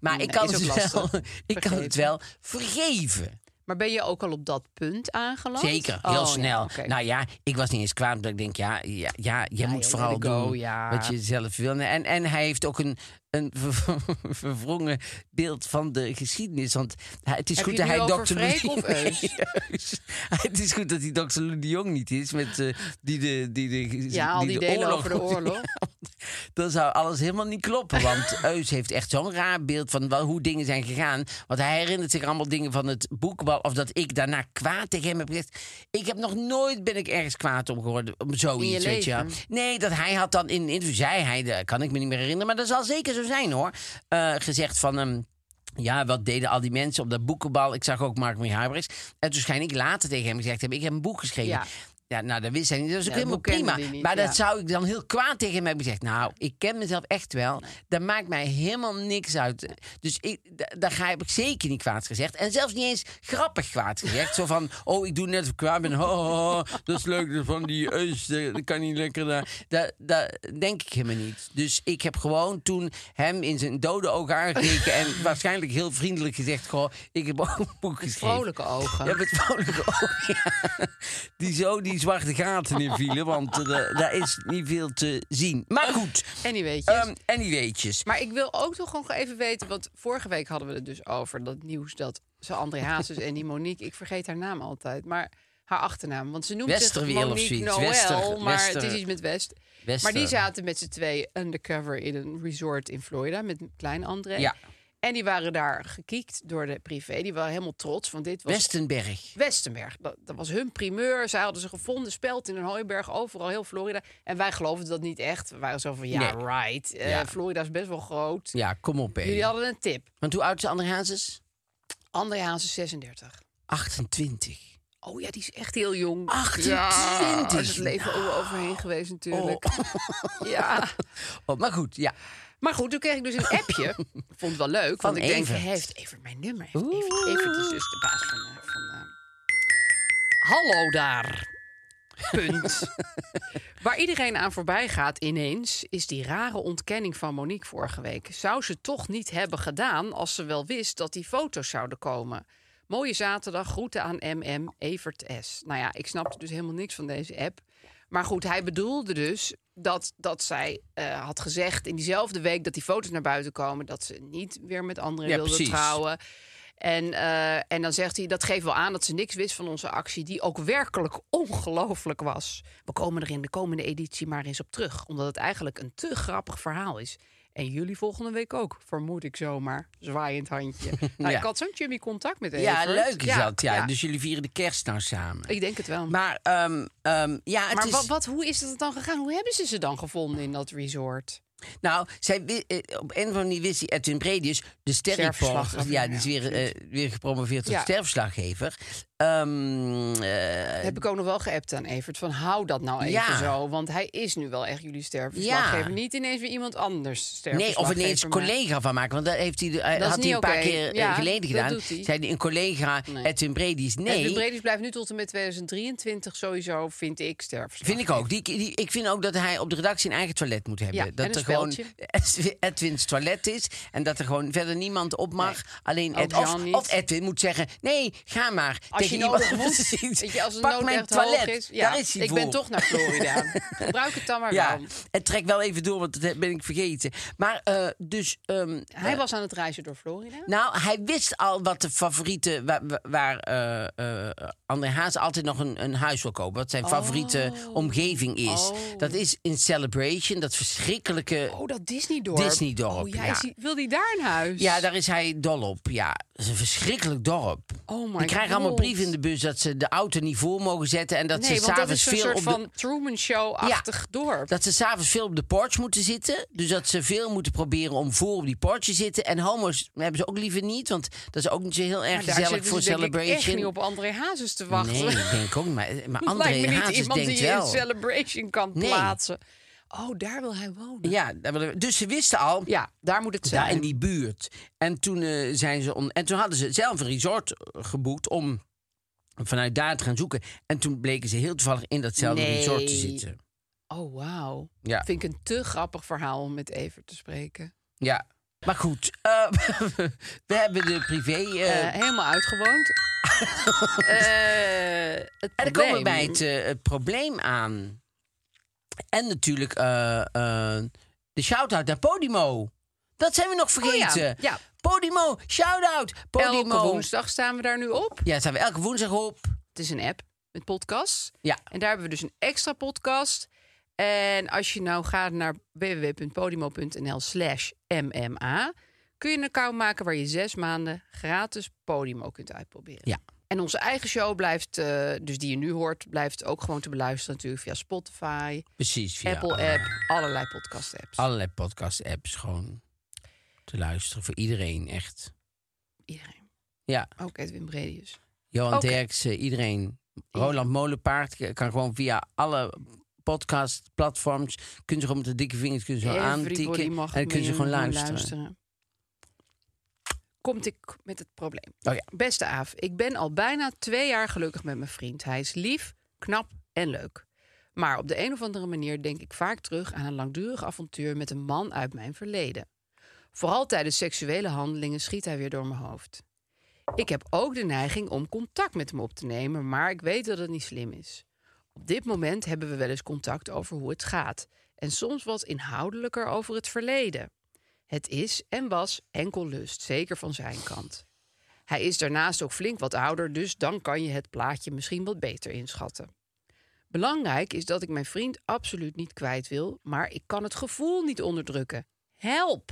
Maar
Nee,
ik, kan
is ook
het wel,
lastig.
ik kan het
Vergeven.
wel vergeven.
Maar ben je ook al op dat punt aangeland?
Zeker, heel
Oh, ja,
snel.
oké.
Nou ja, ik was niet eens kwaad, omdat ik denk, ja, ja, ja je moet
joh,
vooral
let it go,
doen
ja.
wat je zelf wil. En, en hij heeft ook een, een ver- verwrongen beeld van de geschiedenis. Want hij- het is
Heb
goed
je
dat
het
hij
nu over
dokter
Freek
Lou-
of Eus?
Eus. Het is goed dat die dokter Lou de Jong niet is, met, eh, die, de, die, de,
Ja, al die
de
delen over de oorlog.
Ja, want dan zou alles helemaal niet kloppen. Want Eus heeft echt zo'n raar beeld van wel hoe dingen zijn gegaan. Want hij herinnert zich allemaal dingen van het boekbal. Of dat ik daarna kwaad tegen hem heb gezegd. Ik heb nog nooit ben ik ergens kwaad om geworden. Om zoiets, weet je wel.
leven?
Nee, dat hij had dan in een interview, zei hij, dat kan ik me niet meer herinneren. Maar dat zal zeker zo zijn hoor. Eh, gezegd van... ehm, ja, wat deden al die mensen op dat boekenbal? Ik zag ook Mark Mihaibrix. En toen schijn ik later tegen hem gezegd hebben... ik heb een boek geschreven. Ja.
Ja.
nou, dat wist hij niet. Dat is ook
Ja,
helemaal
dat boek kende
prima.
hij niet,
maar dat
ja.
zou ik dan heel kwaad tegen hem hebben gezegd. Nou, ik ken mezelf echt wel. Dat maakt mij helemaal niks uit. Dus ik, da- daar ga heb ik zeker niet kwaad gezegd. En zelfs niet eens grappig kwaad gezegd. Zo van, oh, ik doe net of ik kwaad ben. Ho, ho, ho, dat is leuk dat van die eus. eh, Dat kan niet lekker. daar. Dat, dat denk ik helemaal niet. Dus ik heb gewoon toen hem in zijn dode ogen aangekeken. En waarschijnlijk heel vriendelijk gezegd. Goh, ik heb ook een boek geschreven.
Vrolijke ogen.
Ja, met vrolijke ogen. ja. Die zo die zwarte gaten in vielen, want eh, da- daar is niet veel te zien.
Eh,
Maar goed,
Anyway'tjes.
ehm anyweetjes.
Maar ik wil ook toch gewoon even weten, want vorige week hadden we het dus over dat nieuws dat ze André Hazes en die Monique, ik vergeet haar naam altijd, maar haar achternaam, want ze noemt zich
Westerwiel of
Monique
zoiets.
Noël,
Wester-
maar het
Wester-
is iets met West.
Wester.
Maar die zaten met z'n twee undercover in een resort in Florida met klein André.
Ja.
En die waren daar gekiekt door de privé. Die waren helemaal trots, want dit was
Westenberg.
Westenberg. Dat, dat was hun primeur. Zij hadden ze gevonden, speld in een hooiberg, overal heel Florida. En wij geloofden dat niet echt. We waren zo van, ja,
Nee.
right. Eh,
Ja.
Florida is best wel groot.
Ja, kom op, hè.
Jullie hadden een tip.
Want hoe oud is André Hazes?
André Haas is 36.
28.
Oh ja, die is echt heel jong.
28?
Ja, daar is het leven over overheen geweest natuurlijk. Ja.
Oh, maar goed, ja.
Maar goed, toen kreeg ik dus een appje. Ik vond het wel leuk,
Van
want ik denk,
Evert.
hij heeft even mijn nummer. Heeft Evert, Evert is dus de baas van... eh, van eh, Hallo daar. Punt. Waar iedereen aan voorbij gaat ineens... is die rare ontkenning van Monique vorige week. Zou ze toch niet hebben gedaan als ze wel wist dat die foto's zouden komen? Mooie zaterdag, groeten aan MM, Evert S. Nou ja, ik snapte dus helemaal niks van deze app. Maar goed, hij bedoelde dus dat, dat zij eh, had gezegd in diezelfde week dat die foto's naar buiten komen... dat ze niet weer met anderen
Ja,
wilde
precies.
trouwen. En, eh, en dan zegt hij, dat geeft wel aan dat ze niks wist van onze actie... die ook werkelijk ongelooflijk was. We komen er in de komende editie maar eens op terug... omdat het eigenlijk een te grappig verhaal is. En jullie volgende week ook, vermoed ik zomaar. Zwaaiend handje. nou,
Ja.
ik had zo'n Jimmy contact met Evert.
Ja, leuk is dat. Ja. Dus jullie vieren de kerst nou samen.
Ik denk het wel. Maar,
Maar, ehm, ehm, ja, het is...
wat, wat, hoe is dat dan gegaan? Hoe hebben ze ze dan gevonden in dat resort?
Nou, zij, wi- eh, op een of andere manier wist die Edwin Bredius, de sterrenverslaggever. Ja,
Sterrenverslaggever,
die is
ja,
weer, eh, weer gepromoveerd tot
Ja.
sterrenverslaggever. Ehm, eh,
Heb ik ook nog wel geappt aan Evert. Van hou dat nou even
Ja.
zo. Want hij is nu wel echt jullie sterfverslaggever. Niet ineens weer iemand anders
nee, of
sterfverslaggever.
ineens
maar-
collega van maken. Want dat heeft hij, eh,
is
had hij
niet
een paar
oké.
keer eh,
Ja,
geleden
dat
gedaan.
doet hij.
Zei hij een collega, Edwin Bredius, nee.
En de Bredis blijft nu tot en met 2023 sowieso, vind ik,
Vind
sterfverslaggever.
ik ook. Die, die, ik vind ook dat hij op de redactie een eigen toilet moet hebben.
Ja, en
dat
een
er gewoon Edwin's toilet is. En dat er gewoon verder niemand op mag. Alleen
Ook
Ed, of,
Jan niet.
of Edwin moet zeggen: nee, ga maar.
Als je
iemand.
nodig moet,
Precies.
weet je, als het
Pak
nodig
mijn
echt
toilet.
hoog is. Ja,
Daar is hij
ik
voor.
ben toch naar Florida. Gebruik het dan maar
Ja,
wel.
en trek wel even door, want dat ben ik vergeten. Maar eh, dus. ehm,
Hij was aan het reizen door Florida.
Nou, hij wist al wat de favoriete. waar, wa- waar eh, eh, André Haas altijd nog een, een huis wil kopen. Wat zijn favoriete
Oh.
omgeving is. Dat is in Celebration, dat verschrikkelijke.
Oh, dus- dat Disney-dorp.
Disney-dorp,
Oh, ja,
ja.
is die- wil die daar een huis?
Ja, daar is hij dol op. Ja, dat is een verschrikkelijk dorp.
Oh my
Die krijgen allemaal
God.
brieven in de bus dat ze de auto niet voor mogen zetten. En dat
Nee,
ze
want dat
s'avonds
is een
veel
soort
op de
van Truman Show-achtig dorp.
Dat ze s'avonds veel op de porch moeten zitten. Dus dat ze veel moeten proberen om voor op die porch te zitten. En homo's hebben ze ook liever niet. Want dat is ook niet zo heel erg
Maar daar
gezellig
zitten
voor
ze denk ik
Celebration.
echt niet op André Hazes te wachten.
Nee, ik denk ook niet. Maar, maar
Lijkt
André
me niet
Hazes
iemand
denkt
die je in
wel.
Celebration kan
Nee.
plaatsen. Oh, daar wil hij wonen. Ja,
Ja, daar willen we- dus ze wisten al...
daar moet het zijn.
Daar in die buurt. En toen, eh, zijn ze on- en toen hadden ze zelf een resort eh, geboekt om vanuit daar te gaan zoeken. En toen bleken ze heel toevallig in datzelfde
Nee.
resort te zitten.
Oh, wauw.
Ja.
Vind ik een te grappig verhaal om met Evert te spreken.
Ja. Maar goed, eh, we hebben de privé... eh,
Eh, helemaal uitgewoond. Eh, het
En dan komen we
probleem-
bij het, eh, het probleem aan. En natuurlijk eh, eh, de shout-out naar Podimo. Dat zijn we nog vergeten.
Oh ja, ja.
Podimo, shout-out. Podimo.
Elke woensdag staan we daar nu op.
Ja, staan we elke woensdag op.
Het is een app met podcasts.
Ja.
En daar hebben we dus een extra podcast. En als je nou gaat naar www.podimo.nl slash mma... kun je een account maken waar je zes maanden gratis Podimo kunt uitproberen.
Ja.
En onze eigen show blijft, eh, dus die je nu hoort... blijft ook gewoon te beluisteren natuurlijk via Spotify,
Precies. via
Apple-app... allerlei podcast-apps.
Allerlei podcast-apps gewoon te luisteren. Voor iedereen, echt.
Iedereen.
Ja,
Ook Edwin Bredius.
Johan
Oké.
Derksen, iedereen. Roland Molenpaard k- kan gewoon via alle podcastplatforms... kunnen ze gewoon met de dikke vingers kunnen ze gewoon
Everybody
aantikken. En
mag
dan kunnen ze
mee
gewoon luisteren.
Komt ik met het probleem.
Oh ja.
Beste Aaf, ik ben al bijna twee jaar gelukkig met mijn vriend. Hij is lief, knap en leuk. Maar op de een of andere manier denk ik vaak terug aan een langdurig avontuur met een man uit mijn verleden. Vooral tijdens seksuele handelingen schiet hij weer door mijn hoofd. Ik heb ook de neiging om contact met hem op te nemen, maar ik weet dat het niet slim is. Op dit moment hebben we wel eens contact over hoe het gaat en soms wat inhoudelijker over het verleden. Het is en was enkel lust, zeker van zijn kant. Hij is daarnaast ook flink wat ouder, dus dan kan je het plaatje misschien wat beter inschatten. Belangrijk is dat ik mijn vriend absoluut niet kwijt wil, maar ik kan het gevoel niet onderdrukken. Help!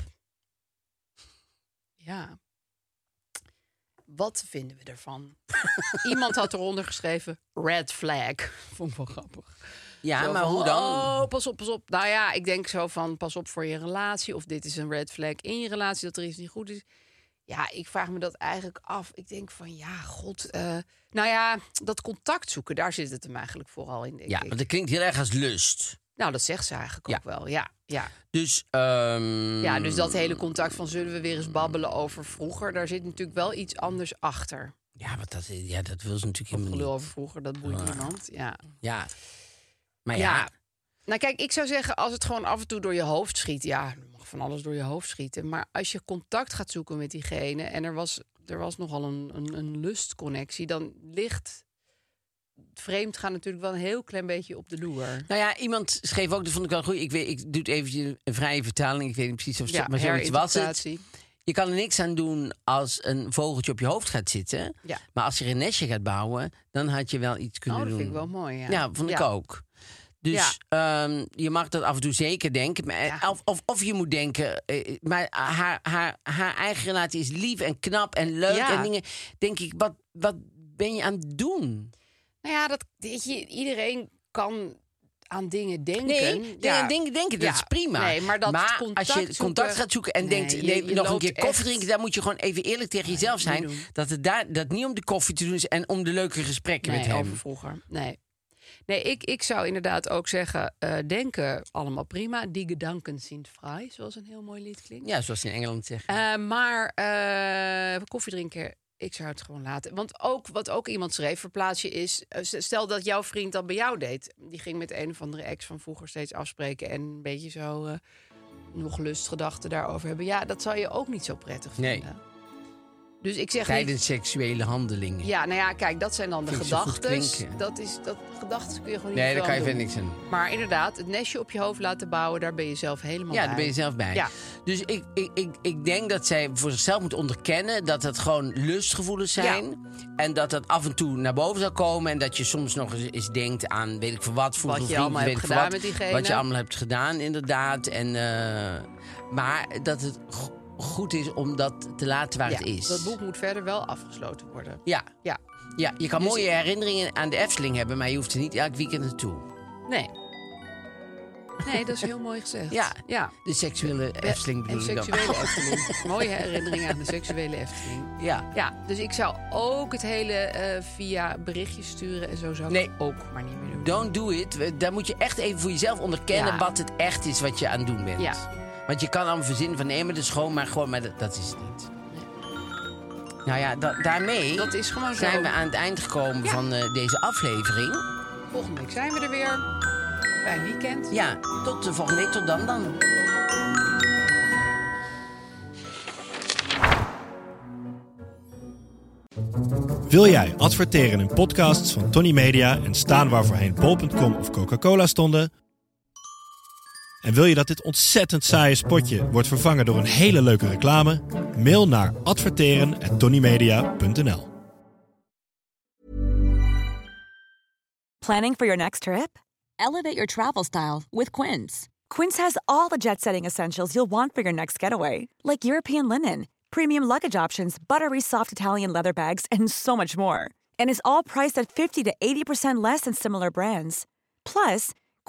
Ja. Wat vinden we ervan? Iemand had eronder geschreven red flag. Vond ik wel grappig.
Ja,
Zo
maar
van,
hoe dan?
Oh, pas op, pas op. Nou ja, ik denk zo van, pas op voor je relatie. Of dit is een red flag in je relatie, dat er iets niet goed is. Ja, ik vraag me dat eigenlijk af. Ik denk van, ja, god. eh, nou ja, dat contact zoeken, daar zit het hem eigenlijk vooral in, denk
Ja,
ik.
want dat klinkt heel erg als lust.
Nou, dat zegt ze eigenlijk
Ja.
ook wel, ja. Ja.
Dus, ehm,
ja, dus dat hele contact van zullen we weer eens babbelen over vroeger... daar zit natuurlijk wel iets anders achter.
ja, want dat, ja, dat wil ze natuurlijk
Dat
helemaal
gelul
niet.
over vroeger, dat
Ah.
boeit niemand, ja.
Ja. Maar ja,
Ja. Nou, kijk, ik zou zeggen, als het gewoon af en toe door je hoofd schiet, ja, er mag van alles door je hoofd schieten. Maar als je contact gaat zoeken met diegene en er was, er was nogal een, een, een lustconnectie, dan ligt vreemd gaan natuurlijk wel een heel klein beetje op de loer.
Nou ja, iemand schreef ook, dat vond ik wel goed. Ik, weet, ik doe het eventjes een vrije vertaling. Ik weet niet precies of het, maar zoiets was het.
herinterpretatie.
Je kan er niks aan doen als een vogeltje op je hoofd gaat zitten.
Ja.
Maar als je er een nestje gaat bouwen, dan had je wel iets kunnen
Oh, dat
doen.
vind ik wel mooi. Ja,
Ja, Nou, vond ik ook. Dus ehm, je mag dat af en toe zeker denken. Maar, eh, Of, of, of je moet denken, eh, maar haar, haar, haar eigen relatie is lief en knap en leuk.
Ja.
En dingen, denk ik, wat, wat ben je aan het doen?
Nou ja, dat, weet je, iedereen kan aan dingen denken.
Nee, nee,
ja.
denk, denk het, dat
Ja.
is prima.
Nee, maar dat
als je
contact
contact
zoeken-
gaat zoeken en
Nee,
denkt,
je-
nee,
je
nog een
loopt
keer koffie
echt-
drinken, dan moet je gewoon even eerlijk tegen jezelf
moet je
zijn.
doen.
Dat, het daar, dat niet om de koffie te doen is en om de leuke gesprekken
nee,
met hem.
over vroeger. Nee. Nee, ik, ik zou inderdaad ook zeggen, eh, denken allemaal prima. Die gedanken zijn vrij, zoals een heel mooi lied klinkt.
Ja, zoals ze in Engeland zeggen.
Eh, maar eh, koffie drinken, ik zou het gewoon laten. Want ook wat ook iemand schreef, verplaats je is... eh, Stel dat jouw vriend dat bij jou deed. Die ging met een of andere ex van vroeger steeds afspreken... en een beetje zo eh, nog lustgedachten daarover hebben. Ja, dat zou je ook niet zo prettig
Nee.
vinden. Dus ik zeg niet...
Tijdens seksuele handelingen.
Ja, nou ja, kijk, dat zijn dan de
Vind ik zo goed
gedachten.
klinken.
Dat is dat gedachten kun je gewoon niet
nee, daar kan
veel
je
aan
verder
doen.
niks aan doen.
Maar inderdaad, het nestje op je hoofd laten bouwen, daar ben je zelf helemaal
Ja,
bij.
daar ben je zelf bij.
Ja.
Dus ik, ik, ik, ik denk dat zij voor zichzelf moet onderkennen dat het gewoon lustgevoelens zijn. En dat dat af en toe naar boven zal komen. En dat je soms nog eens, eens denkt aan weet ik voor wat. vroeger
je
vriendjes,
allemaal
weet
hebt
ik veel
gedaan
wat,
met diegene.
Wat je allemaal hebt gedaan, inderdaad. En, eh, maar dat het go- goed is om dat te laten waar
Ja,
het is.
Dat boek moet verder wel afgesloten worden.
Ja.
Ja,
ja, je kan
Dus
mooie
ik-
herinneringen aan de Efteling hebben, maar je hoeft er niet elk weekend naartoe.
nee. Nee, dat is heel mooi gezegd.
Ja.
ja.
De seksuele Efteling
En
bedoel ik dan.
seksuele Efteling. Mooie herinneringen aan de seksuele Efteling.
Ja.
Ja, dus ik zou ook het hele eh, via berichtjes sturen en zo zou ik
Nee.
het ook maar niet meer doen.
Don't do it. We- Daar moet je echt even voor jezelf onderkennen
Ja.
wat het echt is wat je aan het doen bent.
Ja.
Want je kan allemaal verzinnen van nee, maar dat is gewoon maar gewoon, maar dat, dat is het niet. Nou ja, da- daarmee
Dat is gewoon zo.
zijn we aan het eind gekomen van eh, deze aflevering.
Volgende week zijn we er weer. Fijn weekend.
Ja, tot de volgende week. Tot dan dan.
Wil jij adverteren in podcasts van Tony Media en staan waar voorheen bol.com of Coca-Cola stonden? En wil je dat dit ontzettend saaie spotje wordt vervangen door een hele leuke reclame? Mail naar adverteren@tonymedia.nl.
Planning for your next trip?
Elevate your travel style with Quince.
Quince has all the jet setting essentials you'll want for your next getaway, like European linen, premium luggage options, buttery soft Italian leather bags, and so much more. And is all priced at 50 to 80% less than similar brands. Plus,